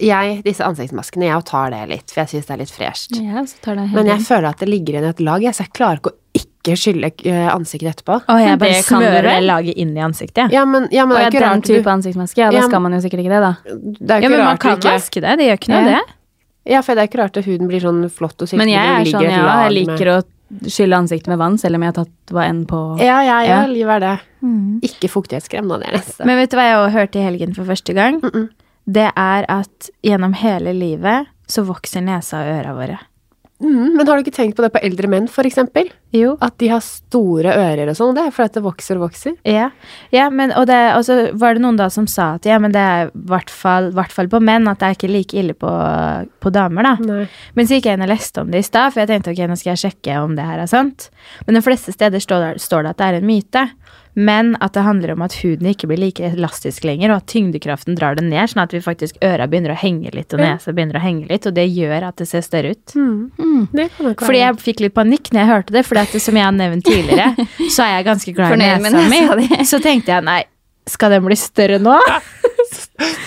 [SPEAKER 4] jeg, disse ansiktsmaskene, jeg tar det litt, for jeg syns det er litt fresht.
[SPEAKER 3] Ja, så tar det
[SPEAKER 4] Men jeg føler at det ligger igjen et lag, jeg, så jeg klarer ikke å ikke skylle eh, ansiktet etterpå.
[SPEAKER 2] Og
[SPEAKER 3] Men
[SPEAKER 2] jeg bare
[SPEAKER 3] det kan du
[SPEAKER 2] smører det
[SPEAKER 3] vel?
[SPEAKER 2] laget inn i ansiktet.
[SPEAKER 4] Ja, men, ja, men
[SPEAKER 3] Og
[SPEAKER 4] det
[SPEAKER 3] ja,
[SPEAKER 4] er ikke
[SPEAKER 3] den
[SPEAKER 4] rart du
[SPEAKER 3] type ansiktsmaske, ja, da
[SPEAKER 4] Ja,
[SPEAKER 3] skal man jo sikkert ikke det, da.
[SPEAKER 4] Det er
[SPEAKER 2] Ja,
[SPEAKER 4] jo ikke
[SPEAKER 2] men man
[SPEAKER 4] rart du
[SPEAKER 2] kan
[SPEAKER 4] ikke
[SPEAKER 2] vaske det. Det gjør ikke noe,
[SPEAKER 3] Ja.
[SPEAKER 2] det.
[SPEAKER 4] Ja, for det er ikke rart at huden blir sånn flott og sikker.
[SPEAKER 3] Men jeg er sånn, ja, jeg liker å skylle ansiktet med vann, selv om jeg har tatt hva enn på
[SPEAKER 4] Ja, ja, ja, livet er det. Ikke fuktighetskrem, da, det er neste.
[SPEAKER 2] Men vet du hva jeg også hørte i helgen for første gang? Det er at gjennom hele livet så vokser nesa og øra våre.
[SPEAKER 4] Mm, men har du ikke tenkt på det på eldre menn, for eksempel?
[SPEAKER 2] Jo.
[SPEAKER 4] At de har store ører og sånn, og det er fordi at det vokser og vokser.
[SPEAKER 2] Ja, ja men, og, det, og så var det noen da som sa at ja, men det er i hvert fall hvert fall på menn at det er ikke like ille på, på damer, da.
[SPEAKER 4] Nei.
[SPEAKER 2] Men så gikk jeg inn og leste om det i stad, for jeg tenkte ok, nå skal jeg sjekke om det her er sant. Men de fleste steder står det, står det at det er en myte. Men at det handler om at huden ikke blir like elastisk lenger, og at tyngdekraften drar det ned, sånn at vi faktisk øra begynner å henge litt, og nesa begynner å henge litt, og det gjør at det ser større ut.
[SPEAKER 4] Mm. Det kan nok
[SPEAKER 2] Fordi jeg fikk litt panikk når jeg hørte det, for som jeg har nevnt tidligere, så er jeg ganske glad i
[SPEAKER 3] Fornøyd med
[SPEAKER 2] nesa mi.
[SPEAKER 3] nesa di.
[SPEAKER 2] Så tenkte jeg nei, skal den bli større nå?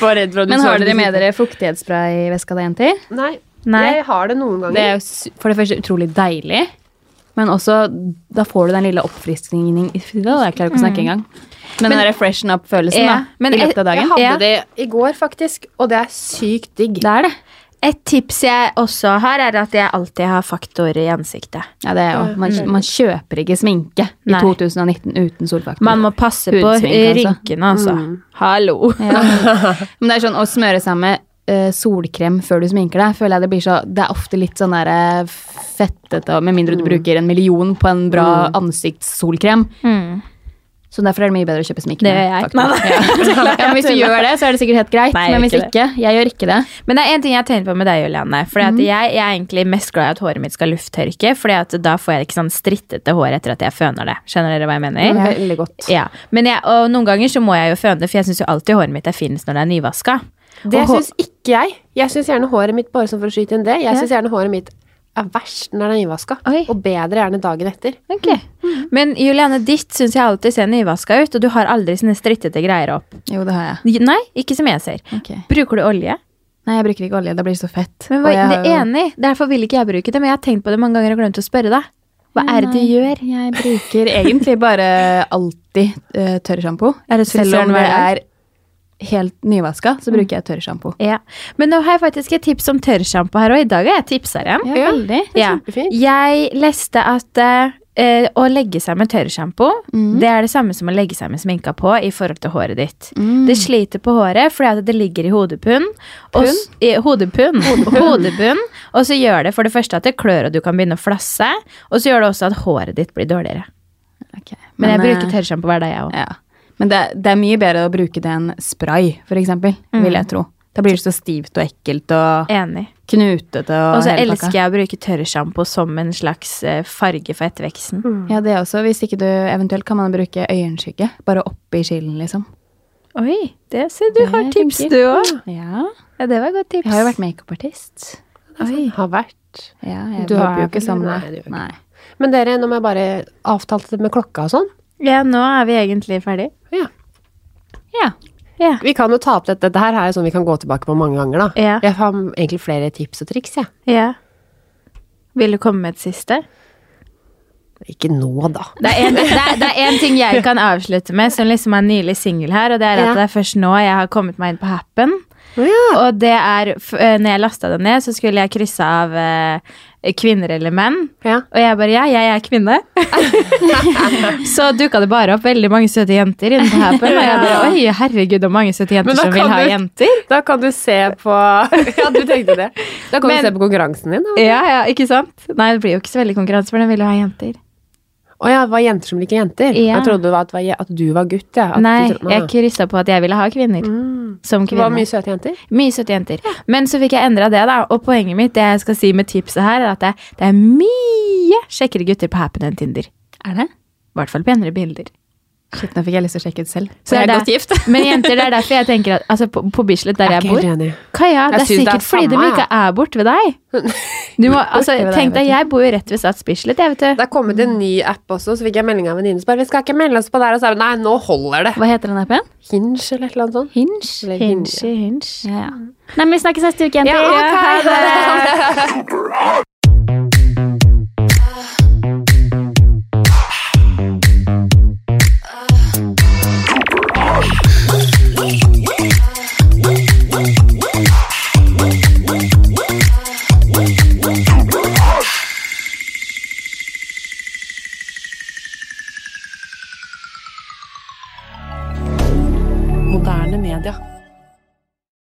[SPEAKER 4] var redd for at
[SPEAKER 3] Men har dere med dere fuktighetsspray i veska da, jenter?
[SPEAKER 4] Nei.
[SPEAKER 2] Nei.
[SPEAKER 4] Jeg har det noen ganger.
[SPEAKER 3] Det er jo s- for det første utrolig deilig, men også da får du den lille oppfriskningen i frida. Jeg klarer ikke å snakke engang. Mm. Men, den der freshen up-følelsen da,
[SPEAKER 2] Ja, men
[SPEAKER 3] i løpet av
[SPEAKER 4] Jeg
[SPEAKER 3] dagen.
[SPEAKER 4] hadde
[SPEAKER 2] Ja.
[SPEAKER 4] det i går, faktisk, og det er sykt digg.
[SPEAKER 3] Det er det.
[SPEAKER 2] Et tips jeg også har, er at jeg alltid har faktor i ansiktet.
[SPEAKER 3] Ja, det er jo. Man, man kjøper ikke sminke i
[SPEAKER 2] Nei.
[SPEAKER 3] 2019 uten solfaktor.
[SPEAKER 2] Man må passe på
[SPEAKER 3] Hudsminke, altså.
[SPEAKER 2] rynkene, altså.
[SPEAKER 4] Mm.
[SPEAKER 2] Hallo.
[SPEAKER 3] Ja. Men det er sånn å smøre seg med eh, solkrem før du sminker deg, føler jeg det blir så Det er ofte litt sånn der eh, fettete, og med mindre du
[SPEAKER 2] Mm.
[SPEAKER 3] bruker en million på en bra ansiktssolkrem. Så derfor er det mye bedre å kjøpe sminke.
[SPEAKER 2] Det
[SPEAKER 3] med
[SPEAKER 2] gjør jeg.
[SPEAKER 3] faktor. Ja. ja, men hvis du gjør det, så er det sikkert helt greit.
[SPEAKER 2] Nei, jeg
[SPEAKER 3] men
[SPEAKER 2] gjør
[SPEAKER 3] hvis
[SPEAKER 2] ikke
[SPEAKER 3] ikke, jeg gjør ikke det.
[SPEAKER 2] Men det er én ting jeg har tenkt på med deg, Juliane. Fordi
[SPEAKER 4] Mm.
[SPEAKER 2] at jeg, jeg er egentlig mest glad i at håret mitt skal lufttørke, Fordi at da får jeg ikke sånn strittete hår etter at jeg føner det. Skjønner dere hva jeg mener?
[SPEAKER 4] Det er Veldig godt.
[SPEAKER 2] Ja, men jeg, og noen ganger så må jeg jo føne, for jeg syns jo alltid håret mitt er finest når det er nyvaska.
[SPEAKER 4] Det
[SPEAKER 2] Og hå-
[SPEAKER 4] syns ikke jeg. Jeg syns gjerne håret mitt bare sånn for å skyte inn det. Jeg syns gjerne håret mitt er verst når det er nyvaska,
[SPEAKER 2] Oi.
[SPEAKER 4] og bedre gjerne dagen etter.
[SPEAKER 2] Ok.
[SPEAKER 4] Mm.
[SPEAKER 2] Men Juliane, ditt syns jeg alltid ser nyvaska ut, og du har aldri sånne strittete greier opp.
[SPEAKER 3] Jo, det har jeg.
[SPEAKER 2] Nei, ikke som jeg ser.
[SPEAKER 4] Mm.
[SPEAKER 3] Ok.
[SPEAKER 2] Bruker du olje?
[SPEAKER 3] Nei, jeg bruker ikke olje. Det blir så fett.
[SPEAKER 2] Men
[SPEAKER 3] Og
[SPEAKER 2] hva,
[SPEAKER 3] jeg
[SPEAKER 2] det
[SPEAKER 3] har
[SPEAKER 2] er
[SPEAKER 3] jo-
[SPEAKER 2] enig, derfor vil ikke jeg bruke det, men jeg har tenkt på det mange ganger og glemt å spørre deg. Hva er det du
[SPEAKER 3] Nei,
[SPEAKER 2] gjør?
[SPEAKER 3] Jeg bruker egentlig bare alltid uh, tørrsjampo.
[SPEAKER 2] Er det
[SPEAKER 3] Selv
[SPEAKER 2] frisøren
[SPEAKER 3] om det
[SPEAKER 2] hver dag?
[SPEAKER 3] er helt nyvaska, så bruker jeg tørrsjampo.
[SPEAKER 2] Ja. Men nå har jeg faktisk et tips om tørrsjampo her, og i dag er jeg tipseren.
[SPEAKER 3] Ja,
[SPEAKER 4] Ja.
[SPEAKER 3] veldig.
[SPEAKER 2] Ja.
[SPEAKER 4] kjempefint.
[SPEAKER 2] Jeg leste at eh, å legge seg med tørrsjampo
[SPEAKER 3] Mm.
[SPEAKER 2] Det er det samme som å legge seg med sminka på i forhold til håret ditt.
[SPEAKER 3] Mm.
[SPEAKER 2] Det sliter på håret fordi at det ligger i hodepun. og s- i Hodepun. Hodebunn. Og så gjør det for det første at det klør, og du kan begynne å flasse. Og så gjør det også at håret ditt blir dårligere.
[SPEAKER 3] Ok,
[SPEAKER 2] Men, jeg
[SPEAKER 3] eh,
[SPEAKER 2] bruker tørrsjampo hver dag, jeg òg.
[SPEAKER 3] ja. Men det, det er mye bedre å bruke det enn spray, for eksempel, vil jeg tro. Da blir det så stivt og ekkelt og
[SPEAKER 2] Enig.
[SPEAKER 3] knutete og
[SPEAKER 2] Og så
[SPEAKER 3] hele
[SPEAKER 2] elsker jeg å bruke tørrsjampo som en slags eh, farge for etterveksten.
[SPEAKER 3] Ja, det også. Hvis ikke du eventuelt kan man bruke øyenskygge, bare oppi kilden, liksom.
[SPEAKER 2] Oi, det ser du har
[SPEAKER 3] Jeg
[SPEAKER 2] tips,
[SPEAKER 3] tenker-
[SPEAKER 2] du òg.
[SPEAKER 3] Ja.
[SPEAKER 2] Ja, det var et godt tips.
[SPEAKER 3] Jeg har jo vært makeupartist.
[SPEAKER 2] Oi.
[SPEAKER 4] sånn, Har vært.
[SPEAKER 3] Ja, jeg
[SPEAKER 4] Du
[SPEAKER 3] jobber
[SPEAKER 4] har
[SPEAKER 3] jo ikke
[SPEAKER 4] vel-
[SPEAKER 3] som
[SPEAKER 4] nei, det gjør
[SPEAKER 3] det.
[SPEAKER 4] jeg ikke.
[SPEAKER 3] Nei.
[SPEAKER 4] Men dere, nå må jeg bare avtale det med klokka og sånn.
[SPEAKER 2] Ja, nå er vi egentlig ferdig.
[SPEAKER 4] Ja.
[SPEAKER 3] Ja.
[SPEAKER 2] Ja.
[SPEAKER 4] Vi kan jo ta opp dette. Dette her er jo sånn vi kan gå tilbake på mange ganger, da.
[SPEAKER 2] Ja.
[SPEAKER 4] Jeg har egentlig flere tips og triks, jeg.
[SPEAKER 2] ja. Vil du komme med et siste?
[SPEAKER 4] Ikke nå, da.
[SPEAKER 2] Det er, en, det, er, det er en ting jeg kan avslutte med, som liksom er nylig singel her, og det er at
[SPEAKER 4] Ja.
[SPEAKER 2] det er først nå jeg har kommet meg inn på Happen.
[SPEAKER 4] Ja.
[SPEAKER 2] Og det er f- eh, Når jeg lasta det ned, så skulle jeg krysse av eh, kvinner eller menn.
[SPEAKER 4] Ja.
[SPEAKER 2] Og jeg bare ja, jeg er kvinne. så dukka det bare opp veldig mange søte jenter inne på Happen. Og jeg bare oi, herregud, hvor mange søte
[SPEAKER 4] Men
[SPEAKER 2] jenter
[SPEAKER 4] da
[SPEAKER 2] som vil
[SPEAKER 4] kan
[SPEAKER 2] ha
[SPEAKER 4] du-
[SPEAKER 2] jenter.
[SPEAKER 4] Da kan du se på Ja, du tenkte det. Da kan
[SPEAKER 2] Men-
[SPEAKER 4] du se på konkurransen din, da.
[SPEAKER 2] Ja, ja, ikke sant? Nei, det blir jo ikke så veldig konkurranse, for den vil jo ha jenter.
[SPEAKER 4] Å ja, det var jenter som liker jenter.
[SPEAKER 2] Ja.
[SPEAKER 4] Jeg trodde det var at, det var je- at du var gutt, ja. At
[SPEAKER 2] Nei,
[SPEAKER 4] du trodde-
[SPEAKER 2] jeg kryssa på at jeg ville ha kvinner. Som
[SPEAKER 4] Det var mye
[SPEAKER 2] kvinne.
[SPEAKER 4] søte jenter.
[SPEAKER 2] Mye søte jenter. Men så fikk jeg endra det, da. Og poenget mitt det jeg skal si med tipset her, er at det, det er mye kjekkere gutter på Happen enn Tinder.
[SPEAKER 3] Er det?
[SPEAKER 2] I hvert fall penere bilder.
[SPEAKER 3] Shit, nå fikk jeg lyst til å sjekke ut selv.
[SPEAKER 2] Så det er
[SPEAKER 3] godt gift.
[SPEAKER 2] der- Men jenter, det er derfor jeg tenker at altså, på, på Bislett, der
[SPEAKER 4] Jeg er
[SPEAKER 2] jeg
[SPEAKER 4] ikke
[SPEAKER 2] bor
[SPEAKER 4] helt enig.
[SPEAKER 2] Kaja, det er
[SPEAKER 4] synes det er
[SPEAKER 2] sikkert fordi de
[SPEAKER 4] samme,
[SPEAKER 2] ikke er borte ved deg. Du må, altså,
[SPEAKER 3] ved deg,
[SPEAKER 2] tenk
[SPEAKER 3] vet
[SPEAKER 2] deg,
[SPEAKER 3] du.
[SPEAKER 2] jeg bor jo rett ved Sats Bislett, jeg, vet du.
[SPEAKER 4] Det er kommet en ny app også, så fikk jeg melding av en venninne som bare 'Vi skal ikke melde oss på der', og så er det 'Nei, nå holder det'.
[SPEAKER 3] Hva heter den appen?
[SPEAKER 4] Hinge eller et eller annet sånt.
[SPEAKER 3] Hinge?
[SPEAKER 4] Eller
[SPEAKER 2] Hinge,
[SPEAKER 4] Hinge.
[SPEAKER 2] hinge.
[SPEAKER 3] Ja, ja. Nei, men vi snakkes neste uke, jenter.
[SPEAKER 4] Ja, ok,
[SPEAKER 3] hei,
[SPEAKER 4] ha det.
[SPEAKER 1] super hot.
[SPEAKER 4] Moderne media.